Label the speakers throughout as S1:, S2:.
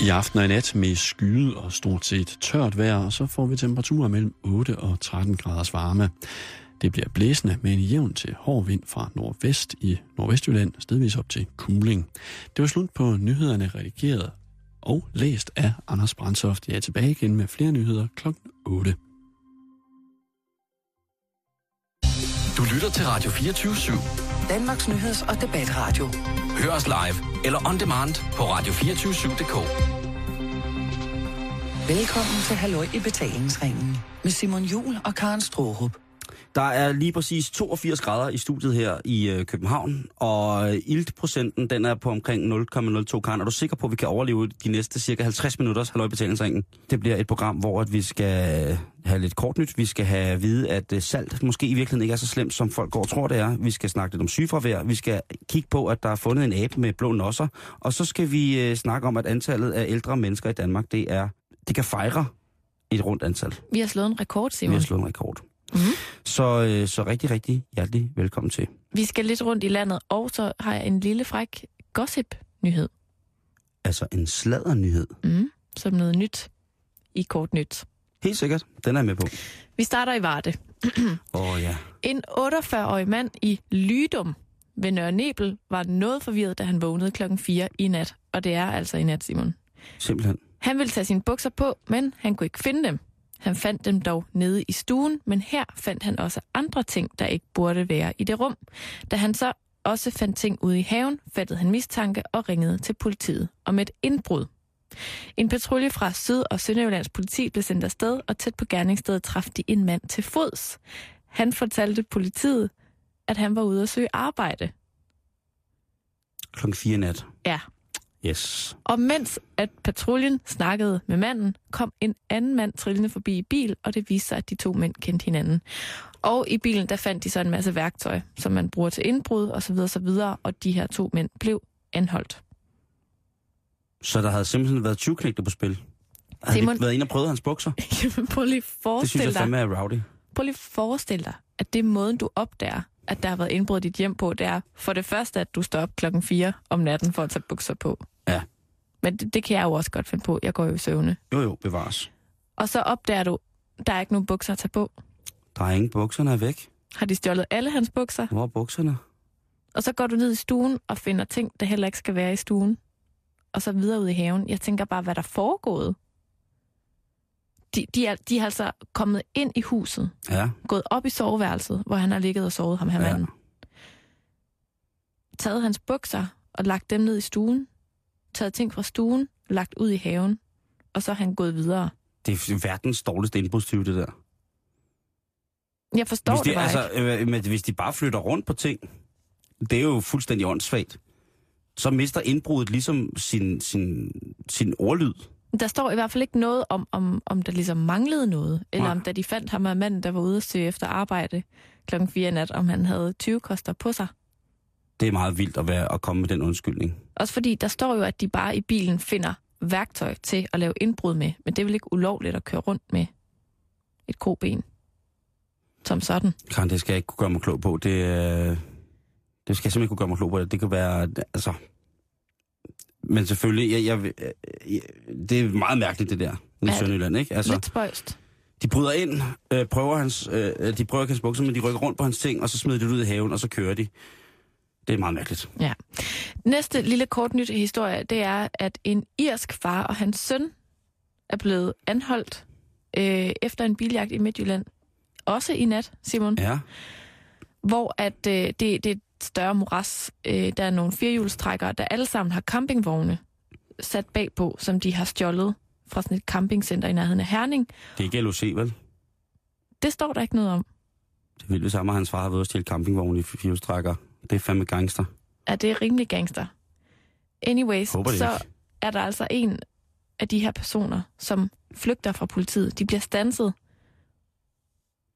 S1: I aften og i nat med skyet og stort set tørt vejr, og så får vi temperaturer mellem 8 og 13 graders varme. Det bliver blæsende med en jævn til hård vind fra nordvest i Nordvestjylland, stedvis op til Kumling. Det var slut på nyhederne redigeret og læst af Anders Brandsoft. Jeg er tilbage igen med flere nyheder kl. 8.
S2: Du lytter til Radio 24 /7.
S3: Danmarks nyheds- og debatradio.
S2: Hør os live eller on demand på radio247.dk.
S3: Velkommen til Halløj i betalingsringen med Simon Jul og Karen Strohrup.
S4: Der er lige præcis 82 grader i studiet her i øh, København, og øh, iltprocenten den er på omkring 0,02 kan. Er du sikker på, at vi kan overleve de næste cirka 50 minutters halvøjbetalingsringen? Det bliver et program, hvor at vi skal øh, have lidt kort nyt. Vi skal have at vide, at øh, salt måske i virkeligheden ikke er så slemt, som folk går og tror, det er. Vi skal snakke lidt om sygefravær. Vi skal kigge på, at der er fundet en abe med blå nosser. Og så skal vi øh, snakke om, at antallet af ældre mennesker i Danmark, det er det kan fejre et rundt antal.
S5: Vi har slået en rekord,
S4: Vi
S5: Simon.
S4: har slået en rekord.
S5: Mhm.
S4: Så, øh, så rigtig, rigtig hjertelig velkommen til.
S5: Vi skal lidt rundt i landet, og så har jeg en lille fræk gossip-nyhed,
S4: Altså en sladdernyhed.
S5: mm. som noget nyt i kort nyt.
S4: Helt sikkert. Den er jeg med på.
S5: Vi starter i Varde.
S4: Åh oh, ja.
S5: En 48-årig mand i Lydum ved Nørre Nebel var noget forvirret, da han vågnede klokken 4 i nat. Og det er altså i nat, Simon.
S4: Simpelthen.
S5: Han ville tage sine bukser på, men han kunne ikke finde dem. Han fandt dem dog nede i stuen, men her fandt han også andre ting, der ikke burde være i det rum. Da han så også fandt ting ude i haven, fattede han mistanke og ringede til politiet om et indbrud. En patrulje fra Syd- og Sønderjyllands politi blev sendt afsted, og tæt på gerningsstedet traf de en mand til fods. Han fortalte politiet, at han var ude at søge arbejde.
S4: Klokken 4 nat.
S5: Ja,
S4: Yes.
S5: Og mens at patruljen snakkede med manden, kom en anden mand trillende forbi i bil, og det viste sig, at de to mænd kendte hinanden. Og i bilen, der fandt de så en masse værktøj, som man bruger til indbrud osv. Og, så videre, så videre, og de her to mænd blev anholdt.
S4: Så der havde simpelthen været 20 knægte på spil. Har Simon...
S5: Simon-
S4: de været inde og prøvet hans bukser?
S5: Jamen, prøv lige at
S4: Det synes jeg
S5: forestille dig,
S4: fandme er rowdy.
S5: prøv lige at forestille dig, at det er måden, du opdager, at der har været indbrud i dit hjem på, det er for det første, at du står op klokken 4 om natten for at tage bukser på.
S4: Ja.
S5: Men det, det kan jeg jo også godt finde på. Jeg går jo i søvne.
S4: Jo jo, bevares.
S5: Og så opdager du, der er ikke nogen bukser at tage på.
S4: Der er ingen bukserne er væk.
S5: Har de stjålet alle hans bukser?
S4: Hvor er bukserne?
S5: Og så går du ned i stuen og finder ting, der heller ikke skal være i stuen. Og så videre ud i haven. Jeg tænker bare, hvad der er foregået. De, de, er, de er altså kommet ind i huset,
S4: Ja.
S5: gået op i soveværelset, hvor han har ligget og sovet ham her
S4: Ja.
S5: manden. Taget hans bukser og lagt dem ned i stuen. Taget ting fra stuen, lagt ud i haven. Og så er han gået videre.
S4: Det er verdens dårligste indbrudstyve, det der.
S5: Jeg forstår
S4: hvis de,
S5: det bare altså... ikke.
S4: altså, øh, men hvis de bare flytter rundt på ting, det er jo fuldstændig åndssvagt. Så mister indbruddet ligesom sin, sin, sin ordlyd.
S5: Der står i hvert fald ikke noget om, om, om der ligesom manglede noget, eller
S4: Nej.
S5: om da de fandt ham og manden, der var ude at søge efter arbejde klokken 4 i nat, om han havde 20 koster på sig.
S4: Det er meget vildt at, være, at komme med den undskyldning.
S5: Også fordi der står jo, at de bare i bilen finder værktøj til at lave indbrud med, men det er vel ikke ulovligt at køre rundt med et koben. Som sådan.
S4: Karen, det skal jeg ikke kunne gøre mig klog på. Det, øh, det skal jeg simpelthen ikke kunne gøre mig klog på. Det kan være, altså... Men selvfølgelig, jeg, jeg, jeg, det er meget mærkeligt, det der. I
S5: det?
S4: Sønderjylland, ikke? Altså,
S5: Altså... Lidt spøjst. de
S4: de bryder ind, øh, prøver hans, øh, de prøver ikke hans bukser, men de rykker rundt på hans ting, og så smider de det ud i haven, og så kører de. Det er meget mærkeligt.
S5: Ja. Næste lille kort nyt historie, det er, at en irsk far og hans søn er blevet anholdt øh, efter en biljagt i Midtjylland. Også i nat, Simon.
S4: Ja.
S5: hvor at øh, det, det er et større moras. Øh, der er nogle firehjulstrækkere, der alle sammen har campingvogne sat bagpå, som de har stjålet fra sådan et campingcenter i nærheden af Herning.
S4: Det er ikke LOC, vel?
S5: Det står der ikke noget om.
S4: Det er vildt, hvis ham og hans far har været ude at stjæle campingvogne i fjolstrækker. Det er fandme gangster.
S5: Er det rimelig gangster? Anyways,
S4: Håber det
S5: så
S4: ikke.
S5: er der altså en af de her personer, som flygter fra politiet. De bliver stanset,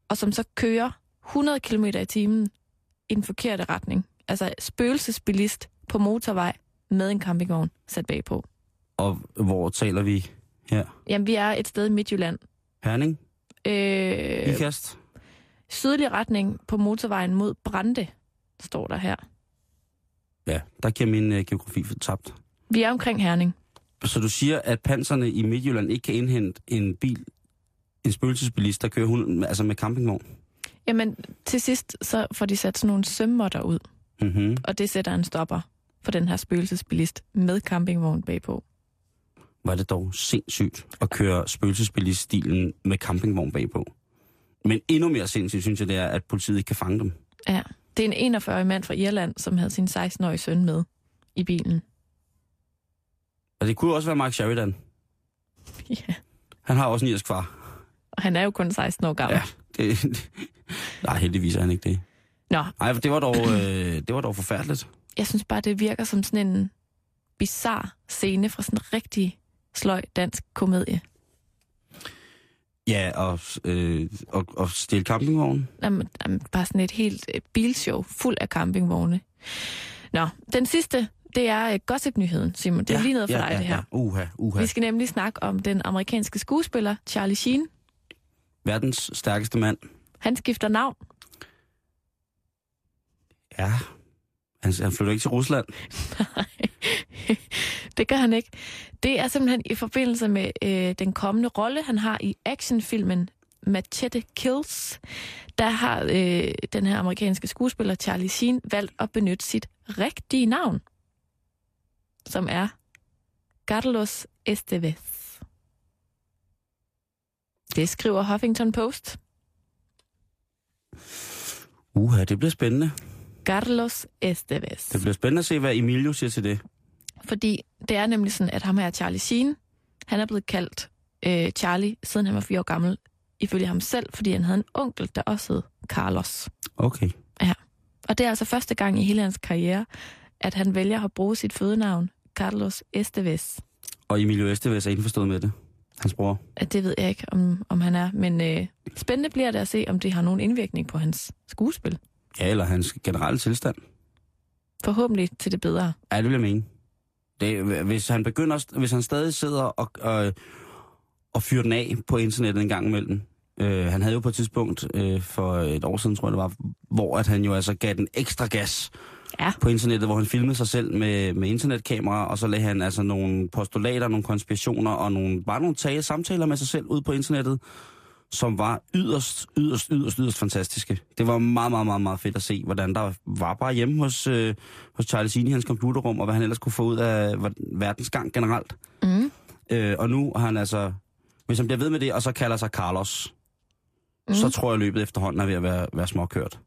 S5: og som så kører 100 km i timen i den forkerte retning. Altså spøgelsesbilist på motorvej med en campingvogn sat bagpå.
S4: Og hvor taler vi her?
S5: Jamen, vi er et sted i Midtjylland.
S4: Herning?
S5: Øh,
S4: Ikast?
S5: sydlig retning på motorvejen mod Brande, står der her.
S4: Ja, der giver min øh, geografi for tabt.
S5: Vi er omkring Herning.
S4: Så du siger, at panserne i Midtjylland ikke kan indhente en bil, en spøgelsesbilist, der kører hun, altså med campingvogn?
S5: Jamen, til sidst så får de sat sådan nogle sømmotter ud,
S4: Mm-hmm.
S5: og det sætter en stopper for den her spøgelsesbilist med campingvogn bagpå.
S4: Var det dog sindssygt at køre spøgelsesbilist-stilen med campingvogn bagpå. Men endnu mere sindssygt, synes jeg, det er, at politiet ikke kan fange dem.
S5: Ja. Det er en 41-årig mand fra Irland, som havde sin 16-årige søn med i bilen.
S4: Og det kunne også være Mark Sheridan.
S5: Ja.
S4: Han har også en irsk far.
S5: Og han er jo kun 16 år gammel.
S4: Ja. Det, nej, heldigvis er han ikke det.
S5: Nå,
S4: Nej, det var dog, øh, det var dog forfærdeligt.
S5: jeg synes bare, det virker som sådan en bizar scene fra sådan en rigtig sløj dansk komedie.
S4: Ja, og, øh, og, og stille campingvognen.
S5: Jamen, jamen, bare sådan et helt øh, bilshow fuld af campingvogne. Nå, den sidste, det er øh, gossip-nyheden, Simon. Det er lige noget for
S4: ja,
S5: dig,
S4: ja,
S5: det her.
S4: Ja. Uha, uha.
S5: Vi skal nemlig snakke om den amerikanske skuespiller Charlie Sheen.
S4: Verdens stærkeste mand.
S5: Han skifter navn.
S4: Ja. Han, han flytter ikke til Rusland.
S5: det gør han ikke. Det er simpelthen i forbindelse med øh, den kommende rolle, han har i actionfilmen Machete Kills. Der har øh, den her amerikanske skuespiller Charlie Sheen valgt at benytte sit rigtige navn, som er Carlos Estevez. Det skriver Huffington Post.
S4: Uha, det bliver spændende.
S5: Carlos Estevez.
S4: Det bliver spændende at se, hvad Emilio siger til det.
S5: Fordi det er nemlig sådan, at ham her Charlie Sheen, han er blevet kaldt øh, Charlie, siden han var fire år gammel, ifølge ham selv, fordi han havde en onkel, der også hed Carlos.
S4: Okay.
S5: Og det er altså første gang i hele hans karriere, at han vælger at bruge sit fødenavn, Carlos Estevez.
S4: Og Emilio Estevez er indforstået med det. Hans bror.
S5: At det ved jeg ikke, om, om han er, men øh, spændende bliver det at se, om det har nogen indvirkning på hans skuespil.
S4: Ja, eller hans generelle tilstand.
S5: Forhåbentlig til det bedre.
S4: Ja, det vil jeg mene. Det, hvis, han begynder, st- hvis han stadig sidder og, og, og fyrer den af på internettet en gang imellem. Øh, han havde jo på et tidspunkt øh, for et år siden, tror jeg det var, hvor at han jo altså gav den ekstra gas
S5: Ja.
S4: på internettet, hvor han filmede sig selv med, med internetkamera, og så lagde han altså nogle postulater, nogle konspirationer og nogle, bare nogle tale, samtaler med sig selv ud på internettet, som var yderst, yderst, yderst, yderst fantastiske. Det var meget, meget, meget, meget fedt at se, hvordan der var bare hjemme hos, øh, hos Charles Ine i hans computerrum, og hvad han ellers kunne få ud af ver- verdens gang generelt.
S5: Mm.
S4: Øh, og nu har han altså, hvis han bliver ved med det, og så kalder sig Carlos, mm. så tror jeg løbet efterhånden er ved at være, være småkørt.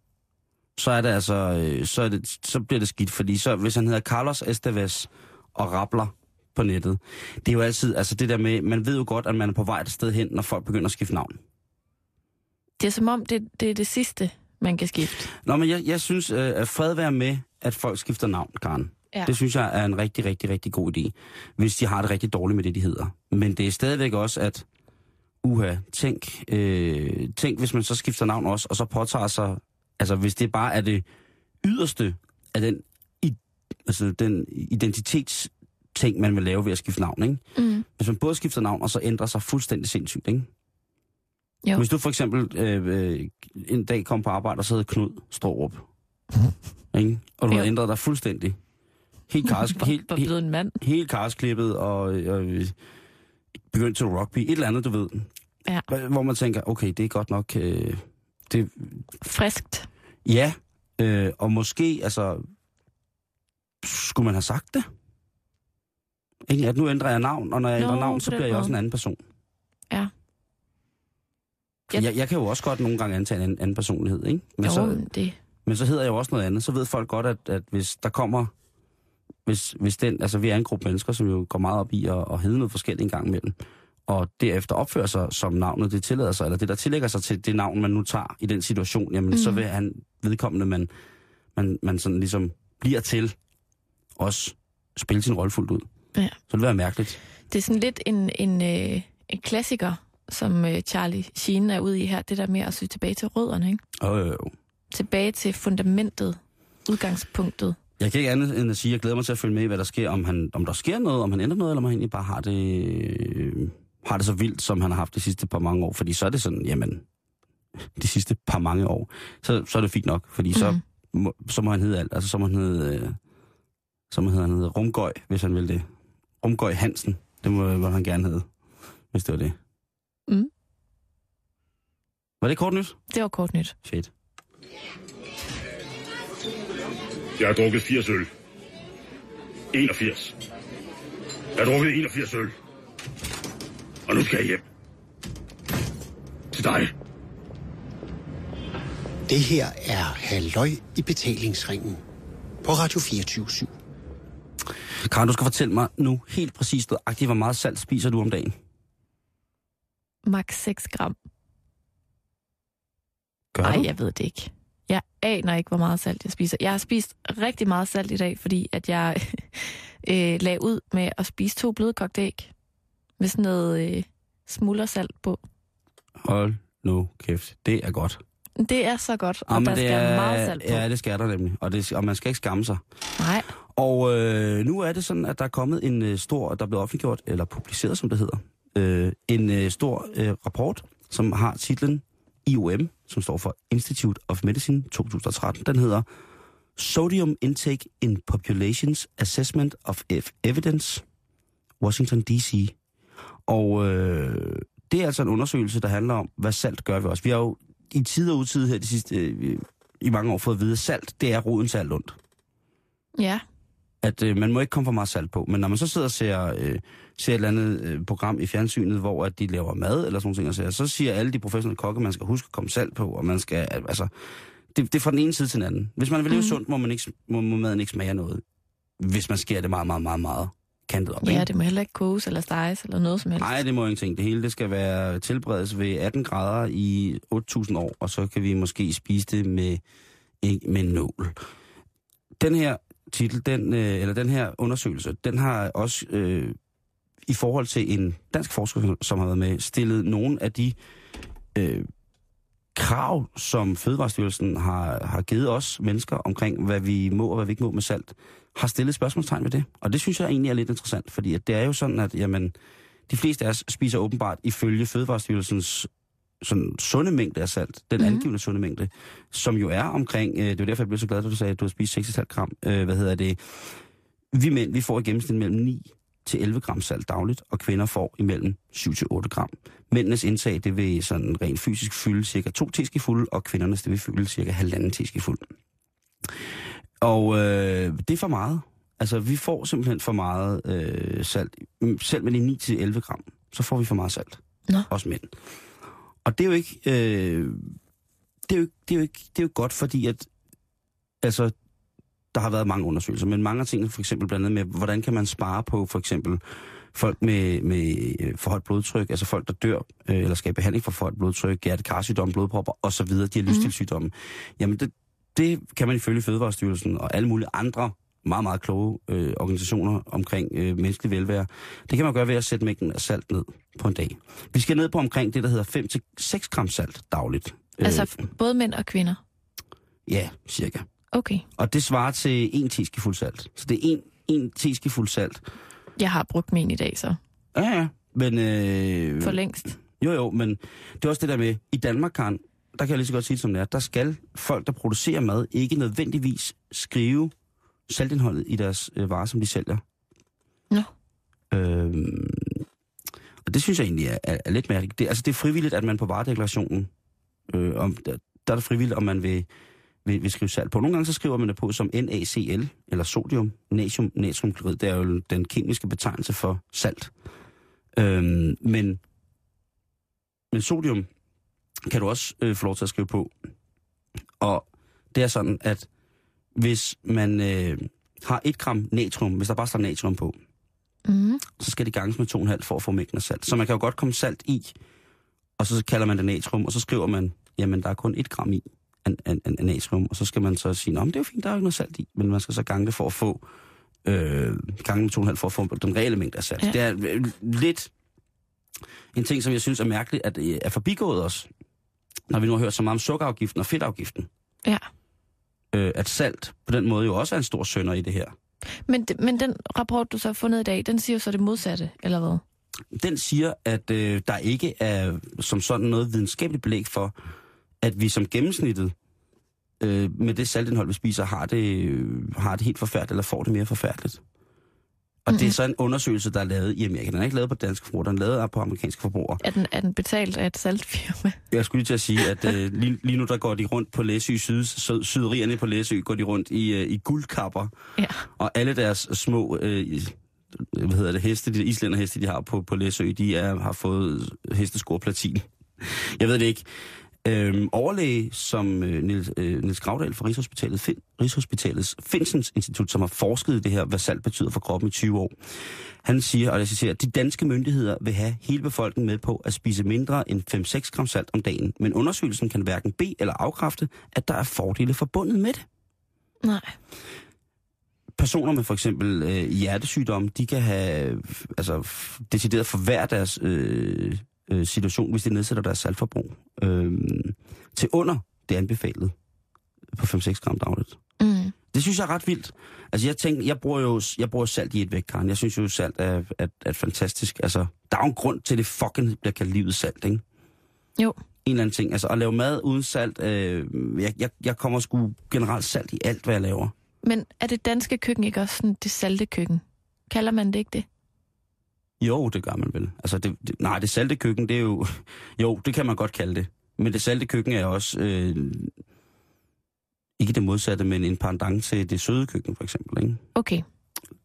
S4: Så er det altså, øh, så, er det, så bliver det skidt, fordi så, hvis han hedder Carlos Estevez og rabler på nettet, det er jo altid, altså det der med, man ved jo godt, at man er på vej et sted hen, når folk begynder at skifte navn.
S5: Det er som om, det, det er det sidste, man kan skifte.
S4: Nå, men jeg, jeg synes, øh, at fred være med, at folk skifter navn, Karen.
S5: Ja.
S4: Det synes jeg er en rigtig, rigtig, rigtig god idé, hvis de har det rigtig dårligt med det, de hedder. Men det er stadigvæk også, at uha, tænk, øh, tænk hvis man så skifter navn også, og så påtager sig, altså hvis det bare er det yderste af den, i, altså, den identitetsting, man vil lave ved at skifte navn, ikke?
S5: Mm.
S4: Hvis man både skifter navn, og så ændrer sig fuldstændig sindssygt, ikke?
S5: Jo.
S4: Hvis du for eksempel øh, øh, en dag kom på arbejde, og så hed Knud Strårup, ikke? Og du
S5: Jo.
S4: havde ændret dig fuldstændig. Helt, kars, helt,
S5: Var
S4: helt,
S5: blevet en mand.
S4: helt karsklippet, og, og øh, begyndt til rugby. Et eller andet, du ved.
S5: Ja.
S4: Hvor- Hvor man tænker, okay, det er godt nok... Øh, det,
S5: Friskt.
S4: ja, øh, og måske, altså... Skulle man have sagt det? Ikke? At nu ændrer jeg navn, og når jeg
S5: Nå,
S4: ændrer navn,
S5: på
S4: så
S5: den
S4: bliver jeg også
S5: måde.
S4: en anden person.
S5: Ja.
S4: For
S5: Jeg-
S4: Jeg, jeg kan jo også godt nogle gange antage en anden, anden personlighed, ikke? Men,
S5: Jo,
S4: så,
S5: men det,
S4: men så hedder jeg jo også noget andet. Så ved folk godt, at, at hvis der kommer... Hvis, hvis den, altså vi er en gruppe mennesker, som jo går meget op i at, at hedde noget forskelligt en gang imellem, og derefter opfører sig, som navnet det tillader sig, eller det, der tillægger sig til det navn, man nu tager i den situation, jamen mm. så vil han vedkommende, man, man, man sådan ligesom bliver til, også spille sin rolle fuldt ud.
S5: Ja.
S4: Så det vil være mærkeligt.
S5: Det er sådan lidt en, en, øh, en klassiker, som øh, Charlie Sheen er ude i her, det der med at sy tilbage til rødderne, ikke?
S4: Og, øh,
S5: tilbage til fundamentet, udgangspunktet.
S4: Jeg kan ikke andet end at sige, at jeg glæder mig til at følge med i, hvad der sker. Om, han, om der sker noget, om han ændrer noget, eller om han egentlig bare har det, øh, har det så vildt, som han har haft de sidste par mange år. Fordi så er det sådan, jamen, de sidste par mange år, så, så er det fint nok. Fordi så,
S5: Mhm.
S4: må, så må han hedde alt. Altså, så må han hedde, øh, så må han hedde, han hedde Rumgøj, hvis han vil det. Omgøj Hansen. Det må, hvad han gerne hedde, hvis det var det.
S5: Mm.
S4: Var det kort nyt?
S5: Det var kort nyt.
S4: Fedt.
S6: Jeg har drukket 80 øl. 81. Jeg har drukket 81 øl. Og nu skal jeg hjem. Til dig.
S7: Det her er Halløj i betalingsringen på Radio 24
S4: Karen, du skal fortælle mig nu helt præcist, nøjagtigt, hvor meget salt spiser du om dagen?
S5: Max 6 gram.
S4: Gør
S5: Nej,
S4: du?
S5: jeg ved det ikke. Jeg aner ikke, hvor meget salt jeg spiser. Jeg har spist rigtig meget salt i dag, fordi at jeg øh, lagde ud med at spise to blødkogte æg med sådan noget øh, smuldersalt på.
S4: Hold nu kæft, det er godt.
S5: Det er så godt, og
S4: Jamen,
S5: der skal meget salt på.
S4: Ja, det skal der nemlig, og, det, og man skal ikke skamme sig.
S5: Nej,
S4: Og øh, nu er det sådan, at der er kommet en øh, stor, der er blevet offentliggjort, eller publiceret, som det hedder, øh, en øh, stor øh, rapport, som har titlen IOM, som står for Institute of Medicine 2013. Den hedder Sodium Intake in Populations Assessment of Ev- Evidence, Washington D.C. Og øh, det er altså en undersøgelse, der handler om, hvad salt gør ved os. Vi har jo i tid og utid her de sidste, øh, i mange år fået at vide, at salt, det er roden til alt ondt
S5: ja.
S4: at øh, man må ikke komme for meget salt på. Men når man så sidder og ser, øh, ser et eller andet øh, program i fjernsynet, hvor at de laver mad eller sådan noget, så, så siger alle de professionelle kokke, at man skal huske at komme salt på, og man skal, al- altså, det, det er fra den ene side til den anden. Hvis man vil leve
S5: Mhm.
S4: sundt, må, man ikke, må, må maden ikke smage af noget. Hvis man skærer det meget, meget, meget, meget kantet op.
S5: Ja,
S4: ikke?
S5: det må heller ikke koges eller steges eller noget som helst.
S4: Nej, det må jeg ingenting. Det hele det skal være tilberedes ved 18 grader i 8.000 år, og så kan vi måske spise det med, ikke, med en nål. Den her titel, den, øh, eller den her undersøgelse, den har også øh, i forhold til en dansk forsker, som har været med, stillet nogle af de øh, krav, som Fødevarestyrelsen har, har givet os mennesker omkring, hvad vi må og hvad vi ikke må med salt, har stillet spørgsmålstegn ved det. Og det synes jeg egentlig er lidt interessant, fordi at det er jo sådan, at jamen, de fleste af os spiser åbenbart ifølge Fødevarestyrelsens sådan sunde mængde af salt, den
S5: Mhm.
S4: angivende sunde mængde, som jo er omkring, øh, det var derfor jeg blev så glad, da du sagde, at du har spist 6,5 gram, øh, hvad hedder det, vi mænd, vi får i gennemsnit mellem 9 til 11 gram salt dagligt, og kvinder får imellem 7 til 8 gram. Mændenes indtag, det vil sådan rent fysisk fylde cirka 2 teskefulde, og kvindernes, det vil fylde cirka halvanden teskefuld. Og øh, det er for meget. Altså, vi får simpelthen for meget øh, salt. Mm, Selv med de 9-11 gram, så får vi for meget salt.
S5: Nå.
S4: Også mænd. Og det er jo ikke... Øh, det er, jo, ikke- det, er jo ikke, det er jo godt, fordi at, altså, der har været mange undersøgelser, men mange af tingene, for eksempel blandt andet med, hvordan kan man spare på for eksempel folk med, med øh, for højt blodtryk, altså folk, der dør, øh, eller skal i behandling for for højt blodtryk, hjertekarsygdomme, blodpropper osv., dialysstilssygdomme. Mm. Jamen, det, det kan man ifølge Fødevarestyrelsen og alle mulige andre meget, meget kloge øh, organisationer omkring øh, menneskelig velvære. Det kan man gøre ved at sætte mængden af salt ned på en dag. Vi skal ned på omkring det, der hedder 5-6 gram salt dagligt. Øh,
S5: Altså både mænd og kvinder.
S4: ja, cirka.
S5: Okay.
S4: Og det svarer til en teskefuld salt. Så det er en, en teskefuld salt.
S5: Jeg har brugt min i dag så,
S4: Ja, ja. Men, øh,
S5: for længst.
S4: jo, jo, men det er også det der med, i Danmark, Karen, der kan jeg lige så godt sige det, som det er, der skal folk, der producerer mad, ikke nødvendigvis skrive saltindholdet i deres øh, varer, som de sælger.
S5: Nå.
S4: Øhm, og det synes jeg egentlig er, er, er lidt mærkeligt. Det, altså, det er frivilligt, at man på varedeklarationen, øh, om, der, der er det frivilligt, om man vil, vil, vil skrive salt på. Nogle gange så skriver man det på som NaCl, eller sodium, natrium, natriumklorid. Det er jo den kemiske betegnelse for salt. Øhm, men, men sodium kan du også øh, få lov til at skrive på. Og det er sådan, at hvis man øh, har 1 gram natrium, hvis der bare står natrium på,
S5: Mm.
S4: så skal det ganges med 2,5 for at få mængden af salt. Så man kan jo godt komme salt i, og så kalder man det natrium, og så skriver man, jamen der er kun 1 gram i af, af, af, af natrium, og så skal man så sige, "Nå, men det er jo fint, der er jo ikke noget salt i, men man skal så gange det for at få, øh, gange med 2,5 for at få den reelle mængde af salt.
S5: Ja.
S4: Ja. Det er øh, lidt en ting, som jeg synes er mærkeligt, at øh, er forbigået os, når vi nu har hørt så meget om sukkerafgiften og fedtafgiften,
S5: Ja.
S4: øh, at salt på den måde jo også er en stor sønder i det her.
S5: Men, d- men den rapport, du så har fundet i dag, den siger jo så det modsatte, eller hvad?
S4: den siger, at øh, der ikke er som sådan noget videnskabeligt belæg for, at vi som gennemsnittet øh, med det saltindhold, vi spiser, har det, øh, har det helt forfærdeligt, eller får det mere forfærdeligt. Og mm-hmm. det er så en undersøgelse, der er lavet i Amerika. Den er ikke lavet på danske forbrugere, den er lavet på amerikanske forbrugere.
S5: Er den, er den betalt af et saltfirma?
S4: Jeg skulle lige til at sige, at øh, lige, lige nu der går de rundt på Læsø syd, syd, syderierne på Læsø, går de rundt i, øh, i guldkapper.
S5: Ja.
S4: Og alle deres små øh, i- hvad hedder det, heste, de islænderheste, de har på, på Læsø, de er, har fået hesteskor platin. Jeg ved det ikke. Øhm, overlæge, som øh, Niels, øh, Niels Gravdal fra Rigshospitalet, fin, Rigshospitalets Finsens Institut, som har forsket i det her, hvad salt betyder for kroppen i 20 år, han siger, og jeg citerer, de danske myndigheder vil have hele befolkningen med på at spise mindre end 5-6 gram salt om dagen, men undersøgelsen kan hverken bede eller afkræfte, at der er fordele forbundet med det
S5: Nej.
S4: personer med for eksempel øh, hjertesygdomme, de kan have f- altså, f- decideret forværre deres øh, øh, situation, hvis de nedsætter deres saltforbrug øh, til under det anbefalede på 5-6 gram dagligt.
S5: Mm.
S4: Det synes jeg er ret vildt. Altså jeg tænker, jeg bruger jo jeg bruger salt i et væk, Karen. Jeg synes jo, salt er, er, er fantastisk. Altså, der er jo en grund til, at det fucking bliver kaldt livet salt, ikke?
S5: Jo.
S4: en eller anden ting. Altså at lave mad uden salt, øh, jeg, jeg, jeg kommer sgu generelt salt i alt, hvad jeg laver.
S5: Men er det danske køkken ikke også sådan det salte køkken? Kalder man det ikke det?
S4: Jo, det gør man vel. Altså, det, det, nej, det salte køkken, det er jo... Jo, det kan man godt kalde det. Men det salte køkken er også... Øh, ikke det modsatte, men en pandang til det søde køkken, for eksempel. Ikke?
S5: Okay.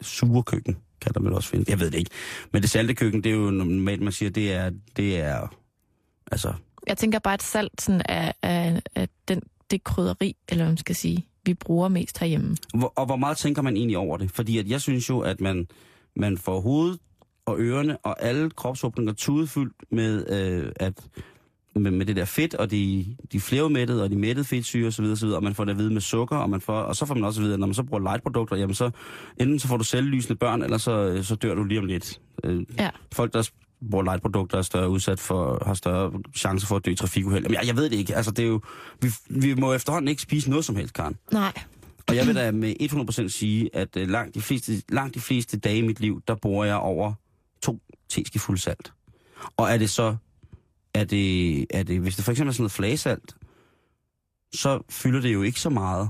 S4: Sure køkken kan der vel også finde. Jeg ved det ikke. Men det salte køkken, det er jo normalt, man siger, det er... Det er altså,
S5: Jeg tænker bare, at salt sådan er, er, er den, det krydderi, eller hvad man skal sige, vi bruger mest herhjemme.
S4: Hvor, og hvor meget tænker man egentlig over det? Fordi at jeg synes jo, at man, man får hovedet og ørerne og alle kropsåbninger tudefyldt med, øh, at, med, med det der fedt og de, de flerumættede og de mættede fedtsyre osv. osv. Og man får det at vide med sukker, og, man får, og så får man også at vide, at når man så bruger lightprodukter, jamen så enten så får du selvlysende børn, eller så, så dør du lige om lidt. Øh,
S5: Ja.
S4: Folk, der bruger lightprodukter, er større udsat for, har større chance for at dø i trafikuheld. Jamen, jeg, jeg ved det ikke. Altså, det er jo, vi, vi må efterhånden ikke spise noget som helst, Karen.
S5: Nej.
S4: Og jeg vil da med 100% sige, at øh, langt de, fleste, langt de fleste dage i mit liv, der bruger jeg over to teskefulde salt. Og er det så, er det, er det, hvis det for eksempel er sådan noget flagesalt, så fylder det jo ikke så meget.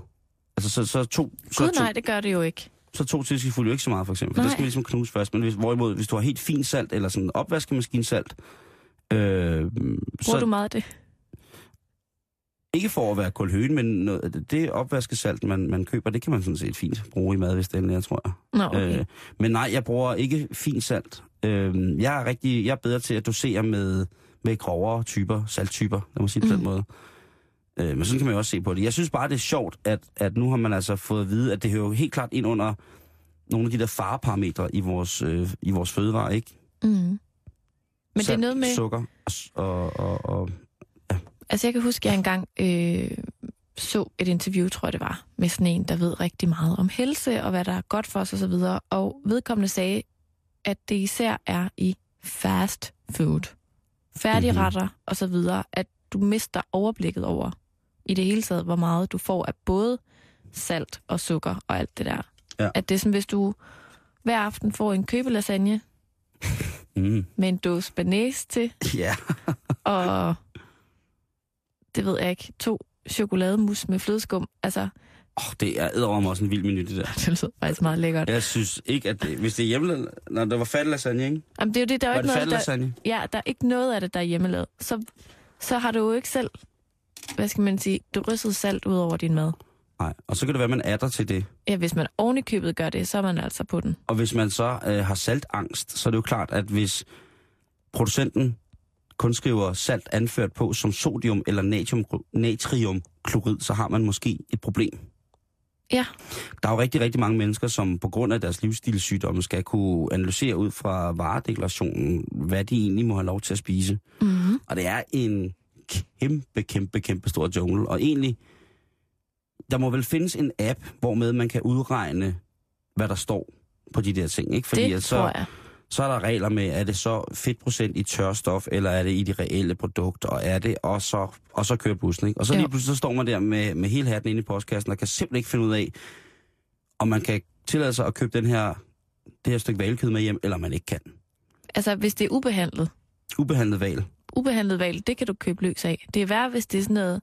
S4: Altså så, så to, så,
S5: Gud
S4: to,
S5: nej, det gør det jo ikke.
S4: så to teskefulde jo ikke så meget for eksempel. For
S5: Nej.
S4: det skal ligesom knuse først. Men hvis, hvorimod, hvis du har helt fint salt, eller sådan opvaskemaskinsalt, øh,
S5: Bruger så... du meget af det?
S4: Ikke for at være kulhøen, men noget, det opvaskesalt, man, man køber, det kan man sådan set fint bruge i mad, hvis det endelig er, tror jeg.
S5: Nå, okay.
S4: Øh, men nej, jeg bruger ikke fint salt. Øh, jeg, er rigtig, jeg er bedre til at dosere med, med grovere typer, salttyper, lad mig sige det på
S5: Mhm.
S4: den måde. Øh, men sådan kan man jo også se på det. Jeg synes bare, det er sjovt, at, at nu har man altså fået at vide, at det hører jo helt klart ind under nogle af de der fareparametre i vores, øh, i vores fødevarer, ikke?
S5: Mm. Men det er
S4: Salt,
S5: noget med...
S4: Sukker og, s- og, og, og
S5: Altså, jeg kan huske, at jeg engang øh, så et interview, tror jeg det var, med sådan en, der ved rigtig meget om helse og hvad der er godt for os osv. Og, så videre. og vedkommende sagde, at det især er i fast food. Færdigretter mm-hmm. og så videre, at du mister overblikket over i det hele taget, hvor meget du får af både salt og sukker og alt det der.
S4: Ja.
S5: At det er sådan, hvis du hver aften får en købelasagne
S4: mm,
S5: med en dåse banæs til,
S4: ja.
S5: og det ved jeg ikke, to chokolademus med flødeskum. Altså,
S4: Oh, det er æderom også en vild menu, det der.
S5: det lyder faktisk meget lækkert. Ja.
S4: Jeg synes ikke, at det, hvis det er hjemme... Når der var fat lasagne, ikke?
S5: Jamen, det er jo det, der er jo
S4: Var
S5: ikke
S4: det fat
S5: noget, der,
S4: lasagne?
S5: ja, der er ikke noget af det, der er hjemmelavet. Så, så har du jo ikke selv, hvad skal man sige, du rysset salt ud over din mad.
S4: Nej, og så kan det være, at man adder til det.
S5: Ja, hvis man oven i købet gør det, så er man altså på den.
S4: Og hvis man så øh, har saltangst, så er det jo klart, at hvis producenten kun skriver salt anført på som sodium eller natrium, natriumklorid, så har man måske et problem.
S5: Ja,
S4: Der er jo rigtig, rigtig mange mennesker, som på grund af deres livsstilssygdomme skal kunne analysere ud fra varedeklarationen, hvad de egentlig må have lov til at spise.
S5: mm-hmm.
S4: Og det er en kæmpe, kæmpe, kæmpe stor jungle. Og egentlig, der må vel findes en app, hvormed man kan udregne, hvad der står på de der ting. Ikke? Fordi
S5: det
S4: at
S5: så...
S4: så,
S5: tror jeg.
S4: så er der regler med, er det så fedtprocent i tørstof, eller er det i de reelle produkter, og er det, og så, og så kører bussen. Ikke? Og så
S5: Jo.
S4: lige pludselig så står man der med, med hele hatten inde i postkassen, og kan simpelthen ikke finde ud af, om man kan tillade sig at købe den her, det her stykke valkød med hjem, eller man ikke kan.
S5: Altså, hvis det er ubehandlet.
S4: Ubehandlet val.
S5: Ubehandlet valg, det kan du købe løs af. Det er værre, hvis det er sådan noget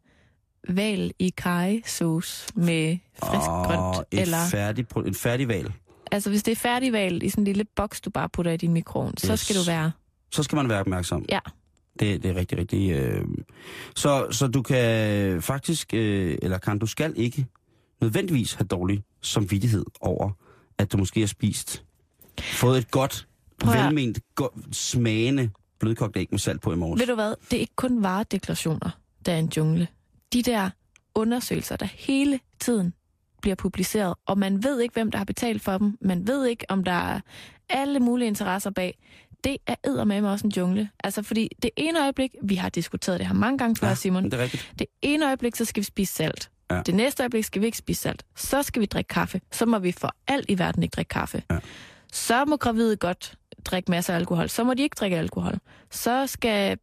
S5: valg i karrysauce med frisk
S4: og
S5: grønt.
S4: et
S5: Eller,
S4: færdig, en færdig val.
S5: Altså, hvis det er færdigvalt i sådan en lille boks, du bare putter i din mikroovn, yes. så
S4: Yes.
S5: skal du være...
S4: Så skal man være opmærksom.
S5: Ja.
S4: Det, det er rigtig, rigtig... Øh... Så, så du kan faktisk, øh, eller kan du skal ikke nødvendigvis have dårlig samvittighed over, at du måske har spist, fået et godt,
S5: Prøv at-
S4: velment, godt, smagende blødkogt æg med salt på i morges.
S5: Ved du hvad? Det er ikke kun varedeklarationer, der er en jungle. De der undersøgelser, der hele tiden bliver publiceret, og man ved ikke, hvem der har betalt for dem. Man ved ikke, om der er alle mulige interesser bag. Det er eddermame også en jungle. Altså, fordi det ene øjeblik, vi har diskuteret det her mange gange før, ja, Simon.
S4: Det er rigtigt.
S5: Det ene øjeblik, så skal vi spise salt.
S4: Ja.
S5: Ja. Det næste øjeblik skal vi ikke spise salt. Så skal vi drikke kaffe. Så må vi for alt i verden ikke drikke kaffe.
S4: Ja.
S5: Så må gravide godt drikke masser af alkohol. Så må de ikke drikke alkohol. Så skal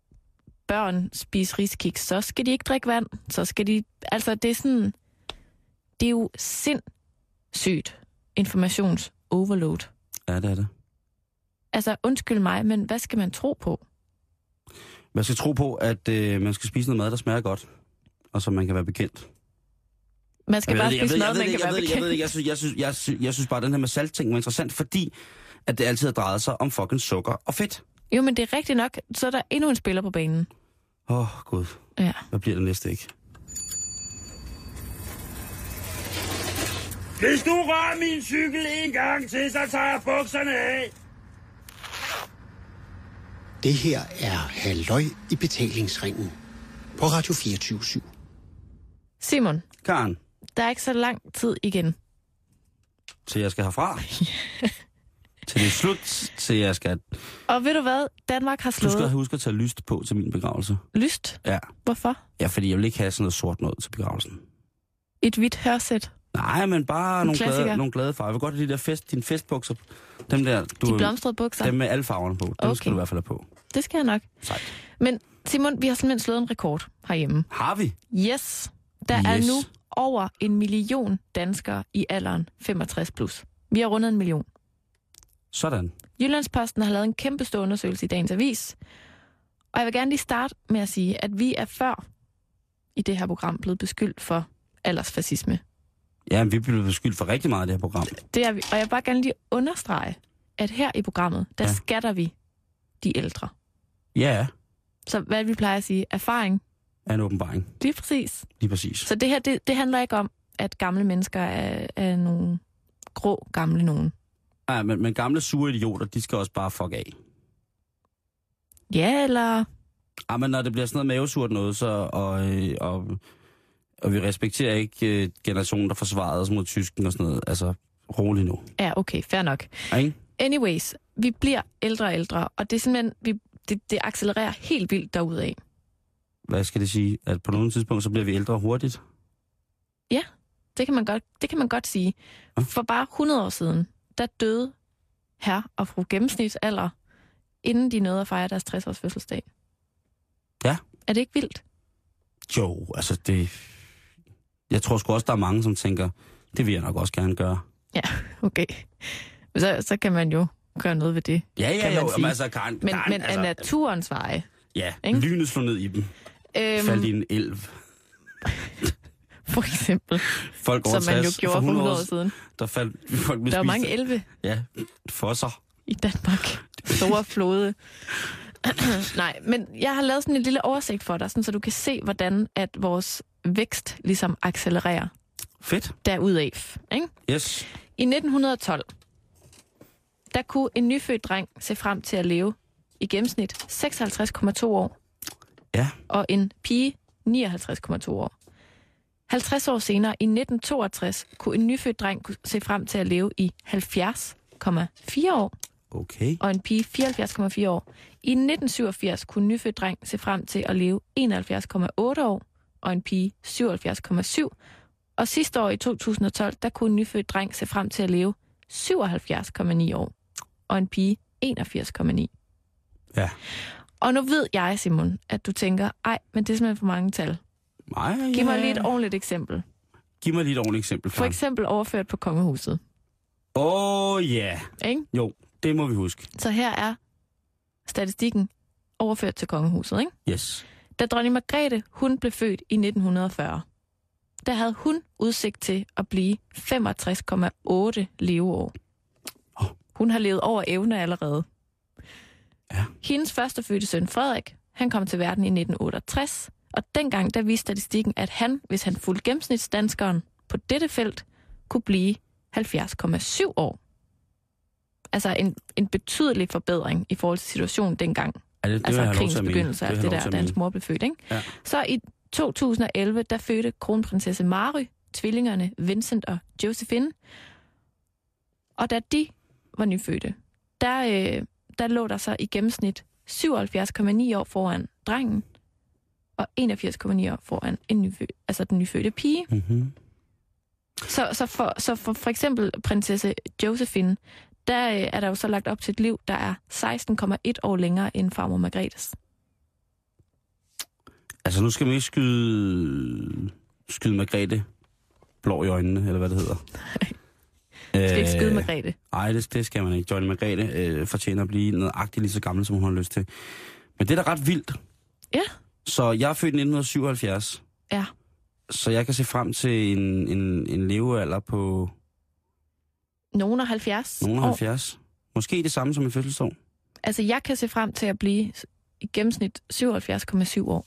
S5: børn spise riskiks. Så skal de ikke drikke vand. Så skal de... Altså, det er sådan... Det er jo sindssygt informations-overload.
S4: Ja, det er det.
S5: Altså, undskyld mig, men hvad skal man tro på?
S4: Man skal tro på, at øh, man skal spise noget mad, der smager godt, og som man kan være bekendt.
S5: Man skal bare
S4: Jeg ved
S5: spise
S4: det, jeg
S5: noget,
S4: ved
S5: man
S4: det,
S5: kan
S4: jeg
S5: være
S4: ved det, jeg ved det,
S5: bekendt.
S4: Jeg synes, jeg synes, jeg synes, jeg synes bare, at den her med saltting var interessant, fordi at det altid har drejet sig om fucking sukker og fedt.
S5: Jo, men det er rigtigt nok. Så er der endnu en spiller på banen.
S4: Åh, oh, gud.
S5: Ja.
S4: Hvad bliver det næste ikke?
S6: Hvis du rører min cykel en gang til, så tager jeg bukserne af.
S7: Det her er Halløj i betalingsringen på Radio 24 /7.
S5: Simon,
S4: Karen,
S5: der er ikke så lang tid igen.
S4: til jeg skal herfra. til det er slut, til jeg skal...
S5: Og ved du hvad? Danmark har
S4: Du skal
S5: slået
S4: huske at tage lyst på til min begravelse.
S5: lyst.
S4: Ja.
S5: Hvorfor?
S4: Ja, fordi jeg vil ikke have sådan noget sort noget til begravelsen.
S5: Et hvidt hørsæt.
S4: Nej, men bare
S5: En
S4: nogle glade,
S5: klassiker.
S4: nogle glade farver. Jeg vil godt have de der fest, dine festbukser. Dem der, du,
S5: De blomstrede bukser.
S4: dem med alle farverne på. Dem okay. skal
S5: Okay.
S4: du i hvert fald have på.
S5: Det skal jeg nok.
S4: Sejt.
S5: Men Simon, vi har simpelthen slået en rekord herhjemme.
S4: Har vi?
S5: Yes. Der yes. er
S4: Yes.
S5: nu over en million danskere i alderen 65 plus. Vi har rundet en million.
S4: Sådan.
S5: Jyllandsposten har lavet en kæmpe stor undersøgelse i dagens avis. Og jeg vil gerne lige starte med at sige, at vi er før i det her program blevet beskyldt for aldersfascisme.
S4: Ja, men vi blev beskyldt for rigtig meget af det her program.
S5: Det er vi. Og jeg vil bare gerne lige understrege, at her i programmet, der
S4: Ja.
S5: ja. skatter vi de ældre.
S4: Ja,
S5: Så hvad vi plejer at sige, erfaring,
S4: er en åbenbaring.
S5: lige præcis.
S4: Lige præcis.
S5: Så det her, det, det handler ikke om, at gamle mennesker er, er nogle grå gamle nogen.
S4: Ja, men, men gamle sure idioter, de skal også bare fuck af.
S5: Ja, eller...
S4: Ja, men når det bliver sådan noget mavesurt noget, så, og, øh, og, og vi respekterer ikke øh, generationen, der forsvarede os mod tysken og sådan noget. Altså, rolig nu.
S5: Ja, okay, fair nok.
S4: Ja, Ikke?
S5: Anyways, vi bliver ældre og ældre, og det er simpelthen... Vi, det, det accelererer helt vildt derudad.
S4: Hvad skal det sige? At på nogle tidspunkt, så bliver vi ældre hurtigt?
S5: Det kan man godt, det kan man godt sige.
S4: Ja.
S5: For bare 100 år siden, der døde herre og fru gennemsnitsalder, inden de nåede at fejre deres 60-års fødselsdag.
S4: Ja.
S5: Er det ikke vildt?
S4: Jo, altså det... Jeg tror sgu også, der er mange, som tænker, det vil jeg nok også gerne gøre.
S5: Okay. Så, så kan man jo gøre noget ved det.
S4: Ja, ja,
S5: Kan man
S4: jo.
S5: sige.
S4: Jamen, altså, Karen,
S5: Men,
S4: Karen,
S5: men altså,
S4: altså,
S5: af naturens veje.
S4: Ja,
S5: ikke?
S4: lynet slog ned i dem. Faldt i
S5: Øhm,
S4: en elv.
S5: for eksempel,
S4: Folk over
S5: som man jo
S4: 60
S5: gjorde for 100 år siden.
S4: Der faldt folk blev
S5: Der var
S4: spist
S5: mange
S4: af-
S5: elve
S4: Ja, for sig.
S5: i Danmark. Store flåde. Nej, men jeg har lavet sådan en lille oversigt for dig, sådan, så du kan se, hvordan at vores vækst ligesom accelererer
S4: Fedt.
S5: derudaf. Ikke?
S4: Yes.
S5: I 1912, der kunne en nyfødt dreng se frem til at leve i gennemsnit 56,2 år,
S4: Ja.
S5: og en pige 59,2 år. 50 år senere, i 1962, kunne en nyfødt dreng ku- se frem til at leve i 70,4 år,
S4: Okay.
S5: og en pige 74,4 år. I 1987 kunne en nyfødt dreng se frem til at leve 71,8 år, og en pige 77,7. Og sidste år i 2012, der kunne en nyfødt dreng se frem til at leve 77,9 år, og en pige 81,9.
S4: Ja.
S5: Og nu ved jeg, Simon, at du tænker, ej, men det er simpelthen for mange tal.
S4: Ej,
S5: Giv mig lige et ordentligt eksempel.
S4: Giv mig lige et ordentligt eksempel.
S5: For
S4: Karen.
S5: eksempel overført på kongehuset.
S4: Åh, oh, ja. Yeah.
S5: Ikke?
S4: Jo, det må vi huske.
S5: Så her er statistikken overført til kongehuset. Ikke?
S4: Yes.
S5: Da dronning Margrethe, hun blev født i 1940, der havde hun udsigt til at blive 65,8 leveår. Hun har levet over evne allerede.
S1: Ja.
S5: Hendes førstefødte søn Frederik, han kom til verden i 1968, og dengang der viste statistikken, at han, hvis han fulgte gennemsnitsdanskeren på dette felt, kunne blive 70,7 år. Altså en, en betydelig forbedring i forhold til situationen dengang.
S4: Ja, det, det
S5: altså
S4: vil jeg have lov til
S5: krigens
S4: at mene.
S5: begyndelse og
S4: vil
S5: alt
S4: jeg
S5: det
S4: have lov
S5: der, da
S4: til at
S5: hans mor blev født. Ikke?
S4: Ja.
S5: Så i 2011, der fødte kronprinsesse Mary tvillingerne Vincent og Josephine. Og da de var nyfødte, der, øh, der lå der så i gennemsnit 77,9 år foran drengen, og 81,9 år foran en nyfød, altså den nyfødte pige.
S4: mene. Mhm.
S5: Så, så, for, så for, for eksempel prinsesse Josephine, der øh, er der jo så lagt op til et liv, der er 16,1 år længere end farmor Margrethes.
S4: Altså, nu skal man ikke skyde, skyde Margrethe blå i øjnene, eller hvad det hedder.
S5: Du skal ikke skyde
S4: Øh,
S5: Margrethe.
S4: Nej, det, det skal man ikke. Johnny Margrethe øh, fortjener at blive nøjagtigt lige så gammel, som hun har lyst til. Men det er da ret vildt.
S5: Ja.
S4: Så jeg er født i 1977.
S5: Ja.
S4: Så jeg kan se frem til en, en, en levealder på
S5: Nogen er 70
S4: nogen
S5: år.
S4: 70. Måske det samme som en fødselsdag.
S5: Altså, jeg kan se frem til at blive i gennemsnit 77,7 år.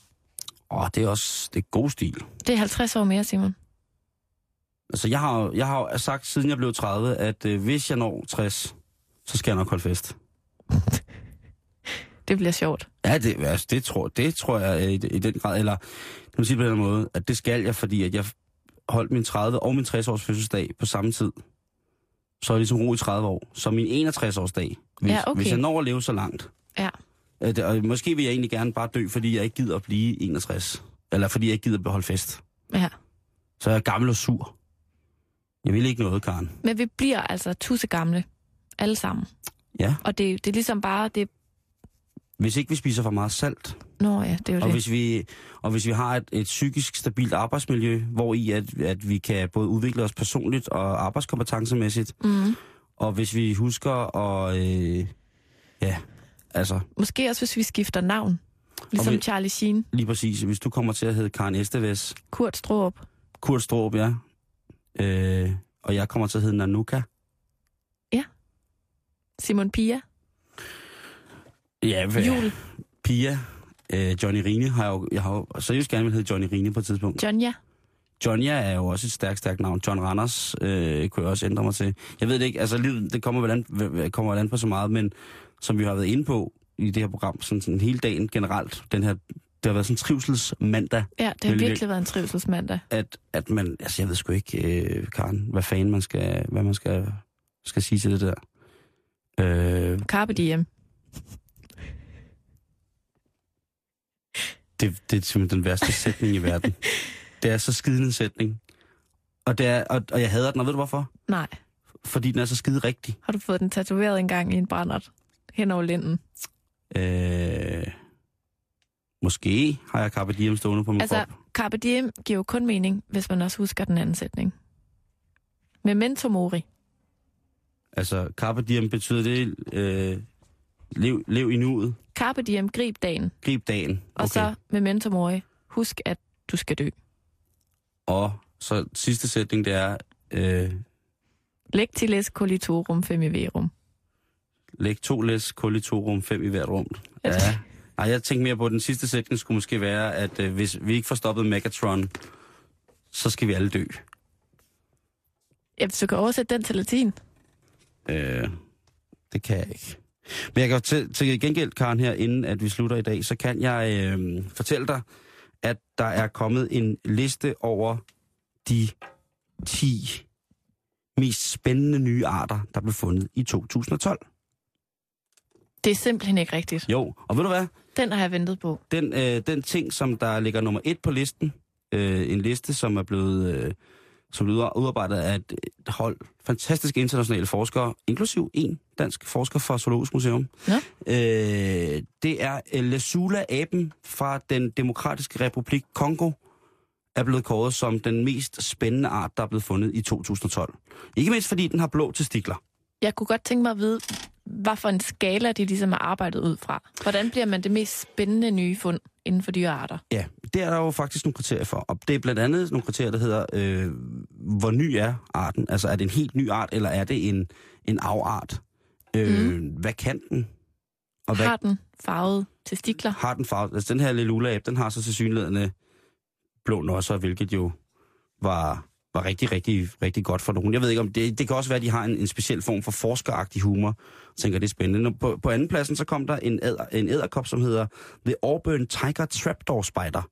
S4: Åh, det er også det er god stil.
S5: Det er 50 år mere, Simon.
S4: Altså, jeg har, jo- jeg har jo sagt, siden jeg blev 30, at øh, hvis jeg når 60, så skal jeg nok holde fest.
S5: Det bliver sjovt.
S4: Ja, det, altså, det, tror, det tror jeg øh, i, i den grad, eller nu må sige det på den her måde, at det skal jeg, fordi at jeg holdt min 30 og min 60-års fødselsdag på samme tid. Så er jeg ligesom ro i 30 år. Så min 61-års dag, hvis,
S5: Ja, okay.
S4: hvis jeg når at leve så langt.
S5: Ja.
S4: At, og måske vil jeg egentlig gerne bare dø, fordi jeg ikke gider at blive 61. Eller fordi jeg ikke gider at holde fest.
S5: Ja.
S4: Så er jeg gammel og sur. Jeg vil ikke noget, Karen.
S5: Men vi bliver altså tusse gamle. Alle sammen.
S4: Ja.
S5: Og det, det er ligesom bare... Det...
S4: Hvis ikke vi spiser for meget salt,
S5: Nå ja, det er jo
S4: Og
S5: det.
S4: hvis vi, og hvis vi har et, et psykisk stabilt arbejdsmiljø, hvor i at, at vi kan både udvikle os personligt og arbejdskompetencemæssigt,
S5: Mm.
S4: og hvis vi husker at... Øh, ja, altså
S5: Måske også, hvis vi skifter navn. Ligesom
S4: vi-
S5: vi... Charlie Sheen,
S4: lige præcis, hvis du kommer til at hedde Karen Esteves,
S5: Kurt Strohop.
S4: Kurt Strohb, ja, øh, og jeg kommer til at hedde Nanuka.
S5: Simon Pia,
S4: Ja, hvad?
S5: Jul,
S4: Pia, øh, Johnny Rine har jeg jo, jeg har jo seriøst gerne vil hedde Johnny Rine på et tidspunkt.
S5: Jonja.
S4: Johnja er jo også et stærkt, stærkt navn. John Randers øh, kunne jeg også ændre mig til. Jeg ved det ikke, altså livet, det kommer vel, an, vel- vel- kommer vel an på så meget, men som vi har været inde på i det her program, sådan, sådan hele dagen generelt, den her, det har været sådan en trivselsmandag,
S5: Ja, det har
S4: Vældig.
S5: virkelig været en trivselsmandag.
S4: at, at man, altså jeg ved sgu ikke, øh, Karen, hvad fanden man skal, hvad man skal, skal sige til det der. Øh,
S5: Carpe diem.
S4: det, det er simpelthen den værste sætning i verden. Det er så skidende en sætning. Og, det er, og, og jeg hader den, og ved du hvorfor?
S5: Nej,
S4: Fordi den er så skide rigtig.
S5: har du fået den tatoveret engang i en brændert hen over linden?
S4: Øh, måske har jeg Carpe Diem stående på min altså,
S5: Altså,
S4: krop.
S5: carpe diem giver jo kun mening, hvis man også husker den anden sætning. Memento mori.
S4: Altså, Carpe Diem betyder det, øh, lev, lev i nuet,
S5: Carpe diem, grib dagen.
S4: grib dagen.
S5: Og okay. så memento mori, husk at du skal dø.
S4: Og så sidste sætning, det er, øh,
S5: Lectiles colitorum femiverum.
S4: læg to læs, kul i to rum, fem i hvert rum. Ja.
S5: Altså-
S4: Ej, jeg tænkte mere på, at den sidste sætning skulle måske være, at øh, hvis vi ikke får stoppet Megatron, så skal vi alle dø.
S5: Ja, hvis du kan oversætte den til latin.
S4: Øh, det kan jeg ikke. Men jeg kan jo til, til gengæld, Karen, her, inden at vi slutter i dag, så kan jeg øh, fortælle dig, at der er kommet en liste over de 10 mest spændende nye arter, der blev fundet i 2012.
S5: Det er simpelthen ikke rigtigt.
S4: Jo, og ved du hvad?
S5: Den har jeg ventet på.
S4: Den, øh, den ting, som der ligger nummer et på listen, øh, en liste, som er blevet øh, som blev udarbejdet af et et hold fantastiske internationale forskere, inklusiv en dansk forsker fra Zoologisk Museum.
S5: Nå.
S4: Øh, det er øh, Lesula-aben fra den demokratiske republik Kongo, er blevet kåret som den mest spændende art, der er blevet fundet i 2012. Ikke mindst fordi den har blå testikler.
S5: Jeg kunne godt tænke mig at vide, hvad for en skala de ligesom har arbejdet ud fra. Hvordan bliver man det mest spændende nye fund inden for dyrearter?
S4: Ja, det er der jo faktisk nogle kriterier for. Og det er blandt andet nogle kriterier, der hedder, øh, hvor ny er arten? Altså er det en helt ny art, eller er det en, en afart? Øh, mm. Hvad kan den? Og hvad
S5: Har den farvede testikler?
S4: har den farve? Altså, den her lille ula den har så tilsyneladende blå nosser, hvilket jo var, var rigtig, rigtig, rigtig godt for nogen. Jeg ved ikke om det, det kan også være, at de har en, en speciel form for forskeragtig humor. Jeg tænker, det er spændende. Nå, På, på anden pladsen, så kom der en, æder, en æderkop, som hedder The Auburn Tiger Trapdoor Spider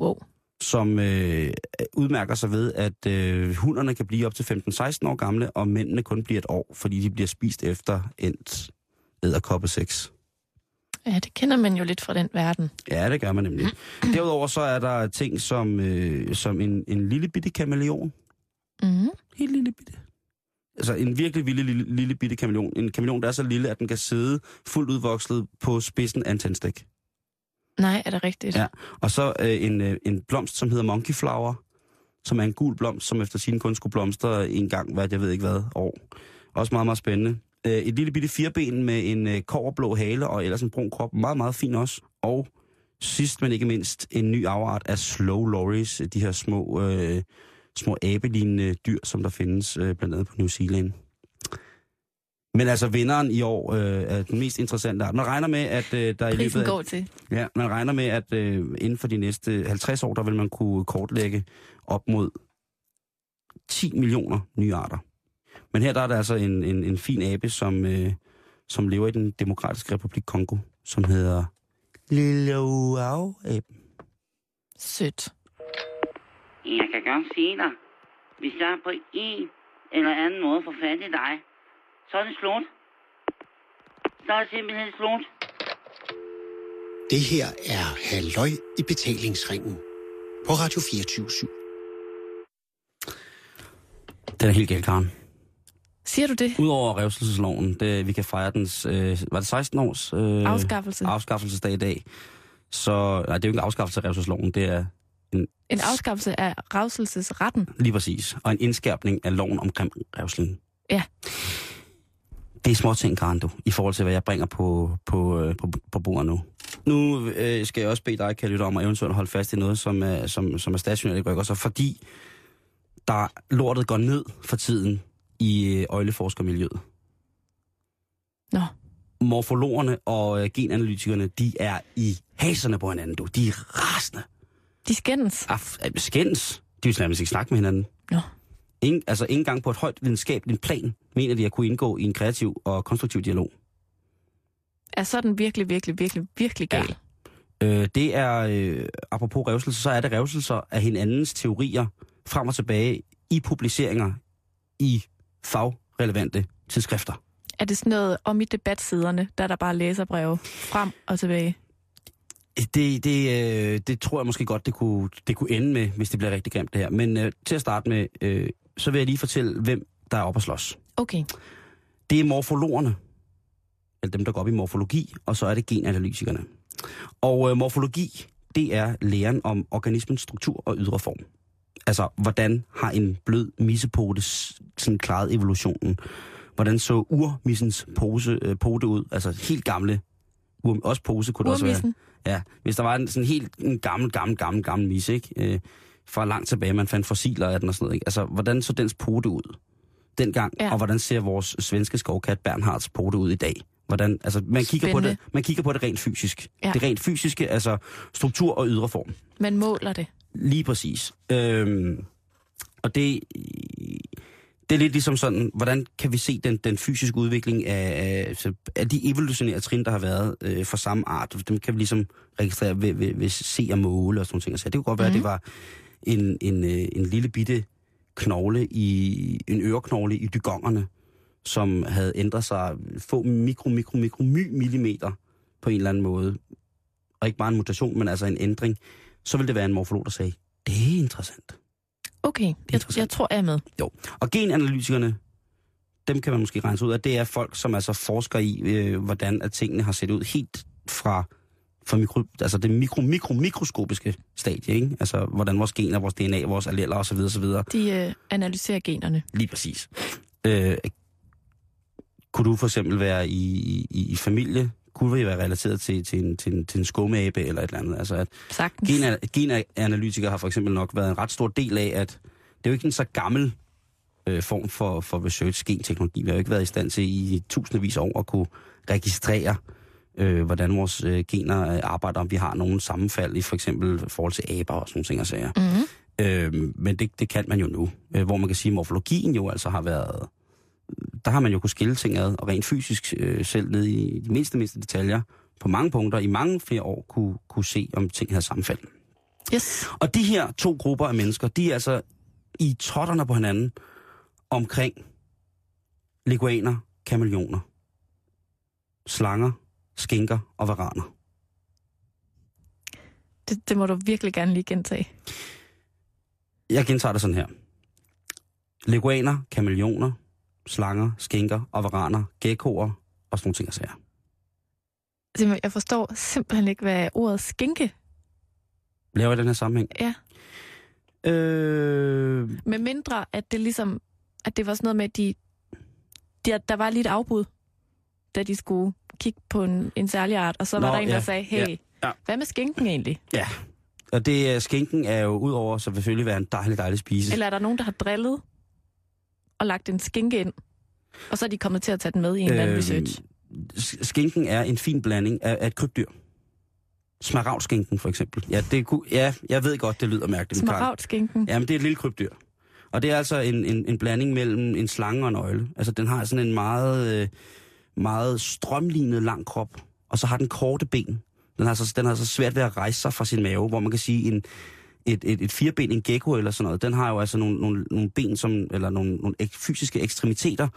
S5: Wow.
S4: som øh, udmærker sig ved, at øh, hunderne kan blive op til 15-16 år gamle, og mændene kun bliver et år, fordi de bliver spist efter endt æderkoppeseks.
S5: Ja, det kender man jo lidt fra den verden.
S4: Ja, det gør man nemlig. Derudover så er der ting som, øh, som en, en lille bitte kameleon.
S5: Mm.
S4: Helt lille bitte. Altså en virkelig lille, lille, lille bitte kameleon. En kameleon, der er så lille, at den kan sidde fuldt udvokslet på spidsen af en tændstik.
S5: Nej, er det rigtigt?
S4: Ja. Og så øh, en, øh, en blomst, som hedder monkey flower, som er en gul blomst, som efter sin kun skulle blomstre en gang, hvad jeg ved ikke hvad, år. Også meget, meget spændende. Øh, et lille bitte firben med en øh, koverblå hale og ellers en brun krop. Meget, meget fin også. Og sidst, men ikke mindst, en ny afart af slow lorries, de her små, øh, små abelignende dyr, som der findes øh, blandt andet på New Zealand. Men altså vinderen i år øh, er den mest interessante art. Man regner med, at øh, der i løbet
S5: Prisen
S4: af...
S5: går til.
S4: Ja, man regner med, at øh, inden for de næste 50 år, der vil man kunne kortlægge op mod 10 millioner nye arter. Men her der er der altså en, en, en fin abe, som, øh, som lever i den demokratiske republik Kongo, som hedder Lilauau-aben.
S5: Sødt.
S8: Jeg kan godt sige dig, hvis jeg på en eller anden måde får fat i dig, så er det slut. Så er det simpelthen slut.
S7: Det her er Halløj i betalingsringen på Radio 24
S4: Den er helt galt, Karen.
S5: Siger du det?
S4: Udover revselsesloven, det, vi kan fejre dens, øh, var det 16 års øh,
S5: Afskaffelse.
S4: afskaffelsesdag i dag, så, nej, det er jo ikke en afskaffelse af revselsesloven, det er
S5: En afskaffelse af ravselsesretten.
S4: Lige præcis. Og en indskærpning af loven omkring revsling.
S5: Ja.
S4: Det er små ting, Karen, du, i forhold til, hvad jeg bringer på, på, øh, på, på bordet nu. Nu øh, skal jeg også bede dig, kan lytte om at eventuelt holde fast i noget, som er, som, som er stationært i rykker sig, fordi der lortet går ned for tiden i øh, øjleforskermiljøet.
S5: Nå,
S4: Morfologerne og øh, genanalytikerne, de er i haserne på hinanden, du. De er rasende.
S5: de skændes.
S4: Af, af, øh, skændes. De vil slet ikke snakke med hinanden.
S5: Nå.
S4: Ingen, altså ikke engang på et højt videnskabeligt plan, mener de at kunne indgå i en kreativ og konstruktiv dialog.
S5: Er sådan virkelig, virkelig, virkelig, virkelig gal. Ja.
S4: Øh, det er, øh, apropos revselser, så er det revselser af hinandens teorier frem og tilbage i publiceringer i fagrelevante tidsskrifter.
S5: Er det sådan noget om i debatsiderne, der er der bare læserbreve frem og tilbage?
S4: Det, det, øh, det tror jeg måske godt, det kunne, det kunne ende med, hvis det bliver rigtig grimt det her. Men øh, til at starte med, øh, så vil jeg lige fortælle, hvem der er oppe at slås.
S5: Okay.
S4: Det er morfologerne, eller dem, der går op i morfologi, og så er det genanalytikerne. Og øh, morfologi, det er læren om organismens struktur og ydre form. Altså, hvordan har en blød missepote s- sådan klaret evolutionen? Hvordan så urmissens pose, øh, pote ud? Altså, helt gamle. Ur, også pose kunne det også være.
S5: Urmissen.
S4: Ja, hvis der var en sådan helt en gammel, gammel, gammel, gammel mis, ikke? Øh, fra langt tilbage, man fandt fossiler af den og sådan noget, ikke? Altså, hvordan så dens pote ud dengang, ja.
S5: Ja.
S4: og hvordan ser vores svenske skovkat Bernhards pote ud i dag? Hvordan, altså, man kigger, på det,
S5: Spændende.
S4: man kigger på det rent fysisk.
S5: Ja.
S4: Det rent fysiske, altså struktur og ydre form.
S5: Man måler det.
S4: Lige præcis. Øhm, og det, det er lidt ligesom sådan, hvordan kan vi se den, den fysiske udvikling af, af, altså, af de evolutionære trin, der har været øh, for samme art? Dem kan vi ligesom registrere ved, ved, ved se og måle og sådan nogle ting. Så det kunne godt være, mm. det var en, en, øh, en lille bitte knogle i, en øreknogle i dygongerne, som havde ændret sig få mikro, mikro, mikro, my millimeter på en eller anden måde. Og ikke bare en mutation, men altså en ændring så ville det være en morfolog, der sagde, det er interessant.
S5: Okay, jeg,
S4: Interessant.
S5: jeg tror, jeg er med.
S4: Og genanalytikerne, dem kan man måske rense ud af, det er folk, som altså forsker i, øh, hvordan at tingene har set ud helt fra, fra mikro, altså det mikro, mikro, mikroskopiske stadie, ikke? Altså, hvordan vores gener, vores DNA, vores alleler osv. osv.
S5: De øh, analyserer generne.
S4: Lige præcis. Øh, kunne du for eksempel være i, i, i familie? Kunne vi være relateret til, til en, til en, til en skumabe eller et eller andet? Altså, at
S5: Sagtens.
S4: Gena- Genanalytikere har for eksempel nok været en ret stor del af, at det er jo ikke en så gammel øh, form for, for research, genteknologi. Vi har jo ikke været i stand til i tusindvis af år at kunne registrere, øh, hvordan vores øh, gener øh, arbejder, om vi har nogle sammenfald i for eksempel forhold til aber og sådan nogle ting og sager.
S5: Mm-hmm.
S4: Øh, men det, det kan man jo nu, øh, hvor man kan sige, at morfologien jo altså har været... Der har man jo kunnet skille ting ad, og rent fysisk øh, selv ned i de mindste, mindste detaljer, på mange punkter i mange flere år, kunne, kunne se, om ting havde sammenfald.
S5: Yes.
S4: Og de her to grupper af mennesker, de er altså i totterne på hinanden omkring leguaner, kameleoner, slanger, skinker og varaner.
S5: Det, det må du virkelig gerne lige gentage.
S4: Jeg gentager det sådan her. Leguaner, kameleoner, slanger, skinker og varaner, geckoer og sådan nogle ting og sager.
S5: Simon, Jeg forstår simpelthen ikke, hvad ordet skinke
S4: Laver jeg den her sammenhæng?
S5: er.
S4: Øh,
S5: Med mindre, at det ligesom, at det var sådan noget med, at de, de, der var lige et afbud, da de skulle kigge på en, en særlig art, og så Nå, var
S4: Nå,
S5: der en, der
S4: ja,
S5: sagde, hey, ja,
S4: ja. Mm.
S5: ja. hvad med skinken egentlig?
S4: og det er- skinken er jo udover så selvfølgelig være en dejlig, dejlig spise.
S5: Eller er der nogen, der har drillet og lagt en skinke ind, og så er de kommet til at tage den med i en eller anden
S4: Øhm,
S5: research?
S4: s- Skinken er en fin blanding af, af et krybdyr. Smaragdskinken for eksempel. Ja, det kunne, ja, jeg ved godt, det lyder mærkeligt. men Karen-
S5: Smaragdskinken?
S4: Jamen, det er et lille krybdyr. Og det er altså en, en, en blanding mellem en slange og en øjle. Altså, den har sådan en meget, øh, meget strømlignet lang krop, og så har den korte ben. Den har, så, den har så svært ved at rejse sig fra sin mave, hvor man kan sige, en, et, et, et fireben, en gecko eller sådan noget, den har jo altså nogle, nogle, nogle ben, som, eller nogle, nogle ek, fysiske ekstremiteter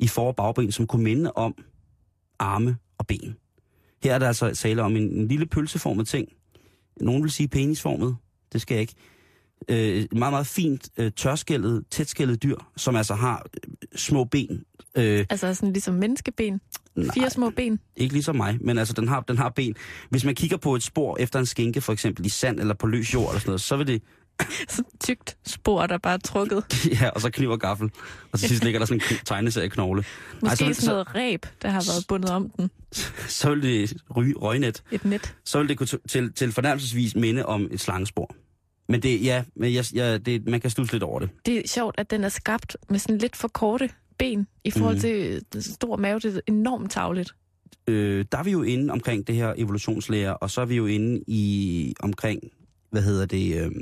S4: i for- og bagben, som kunne minde om arme og ben. Her er der altså tale om en, en lille pølseformet ting. Nogen vil sige penisformet. Det skal jeg ikke øh, meget, meget fint øh, tørskældet, tætskældet dyr, som altså har øh, små ben. Øh,
S5: Altså sådan ligesom menneskeben?
S4: Nej.
S5: Fire små ben?
S4: ikke ligesom mig, men altså den har, den har ben. Hvis man kigger på et spor efter en skinke, for eksempel i sand eller på løs jord eller sådan noget, så vil det...
S5: Så tykt spor, der bare er trukket.
S4: Ja, og så kniv og gaffel. Og til sidst ligger der sådan en kn- tegneserieknogle. Ej,
S5: Måske
S4: så,
S5: Ej,
S4: vil-
S5: sådan
S4: så,
S5: noget ræb, der har været bundet om den.
S4: så vil det ryge røgnet.
S5: Et net.
S4: Så vil det kunne t- til, til fornærmelsesvis minde om et slangespor. Men det, ja, men jeg, jeg, det, man kan stusle lidt over det.
S5: Det er sjovt, at den er skabt med sådan lidt for korte ben i forhold
S4: Mhm.
S5: mm. til øh, den store mave. Det er enormt tavligt.
S4: øh, der er vi jo inde omkring det her evolutionslære, og så er vi jo inde i omkring, hvad hedder det, øh,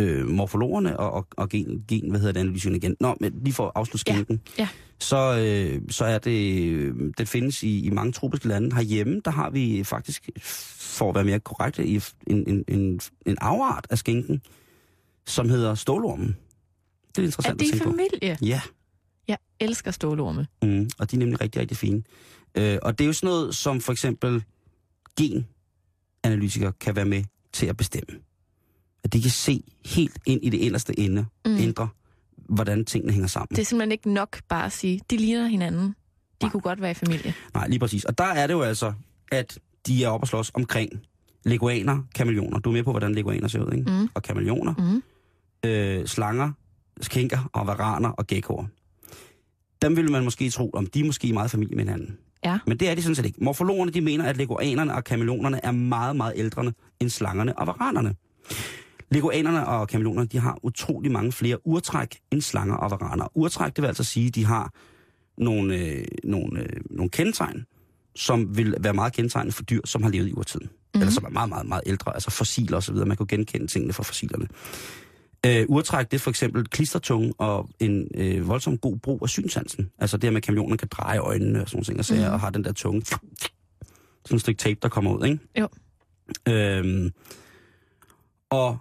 S4: øh, morfologerne og, og, og gen, gen, hvad hedder det, analysen igen. Nå, men lige for at afslutte
S5: Ja,
S4: skænken.
S5: ja.
S4: Så, øh, så er det, øh, den findes i, i mange tropiske lande. Herhjemme, der har vi faktisk, for at være mere korrekt, i f- en, en, en, en afart af skænken, som hedder stålormen. Det er
S5: Er
S4: interessant
S5: det
S4: at
S5: i
S4: tænke på.
S5: familie?
S4: Ja.
S5: Jeg elsker stålorme.
S4: Mm, og de er nemlig rigtig, rigtig fine. Øh, og det er jo sådan noget, som for eksempel genanalytikere kan være med til at bestemme. At de kan se helt ind i det inderste ende, mm.
S5: Mm.
S4: indre, hvordan tingene hænger sammen.
S5: Det er simpelthen ikke nok bare at sige, de ligner hinanden. De kunne godt være i familie.
S4: Nej, lige præcis. Og der er det jo altså, at de er oppe og slås omkring leguaner, kameleoner. Du er med på, hvordan leguaner ser ud, ikke?
S5: Mm.
S4: Og kameleoner,
S5: Mm.
S4: øh, slanger, skinker og varaner og geckoer. Dem ville man måske tro, om de er måske meget i familie med hinanden.
S5: Ja.
S4: Men det er de sådan set ikke. Morfologerne de mener, at leguanerne og kameleonerne er meget, meget ældre end slangerne og varanerne. Leguanerne og kameleonerne de har utrolig mange flere urtræk end slanger og varaner. Urtræk, det vil altså sige, at de har nogle, øh, nogle, øh, nogle kendetegn, som vil være meget kendetegnende for dyr, som har levet i urtiden. Mm-hmm. Eller som er meget, meget, meget ældre, altså fossiler osv. Man kan jo genkende tingene fra fossilerne. Øh, urtræk, det er for eksempel klistertunge og en øh, voldsom god brug af synsansen. Altså det her med, at kameleonen kan dreje øjnene og sådan nogle ting, og, sager, og har den der tunge. Sådan et stykke tape, der kommer ud, ikke?
S5: Jo.
S4: Øhm, og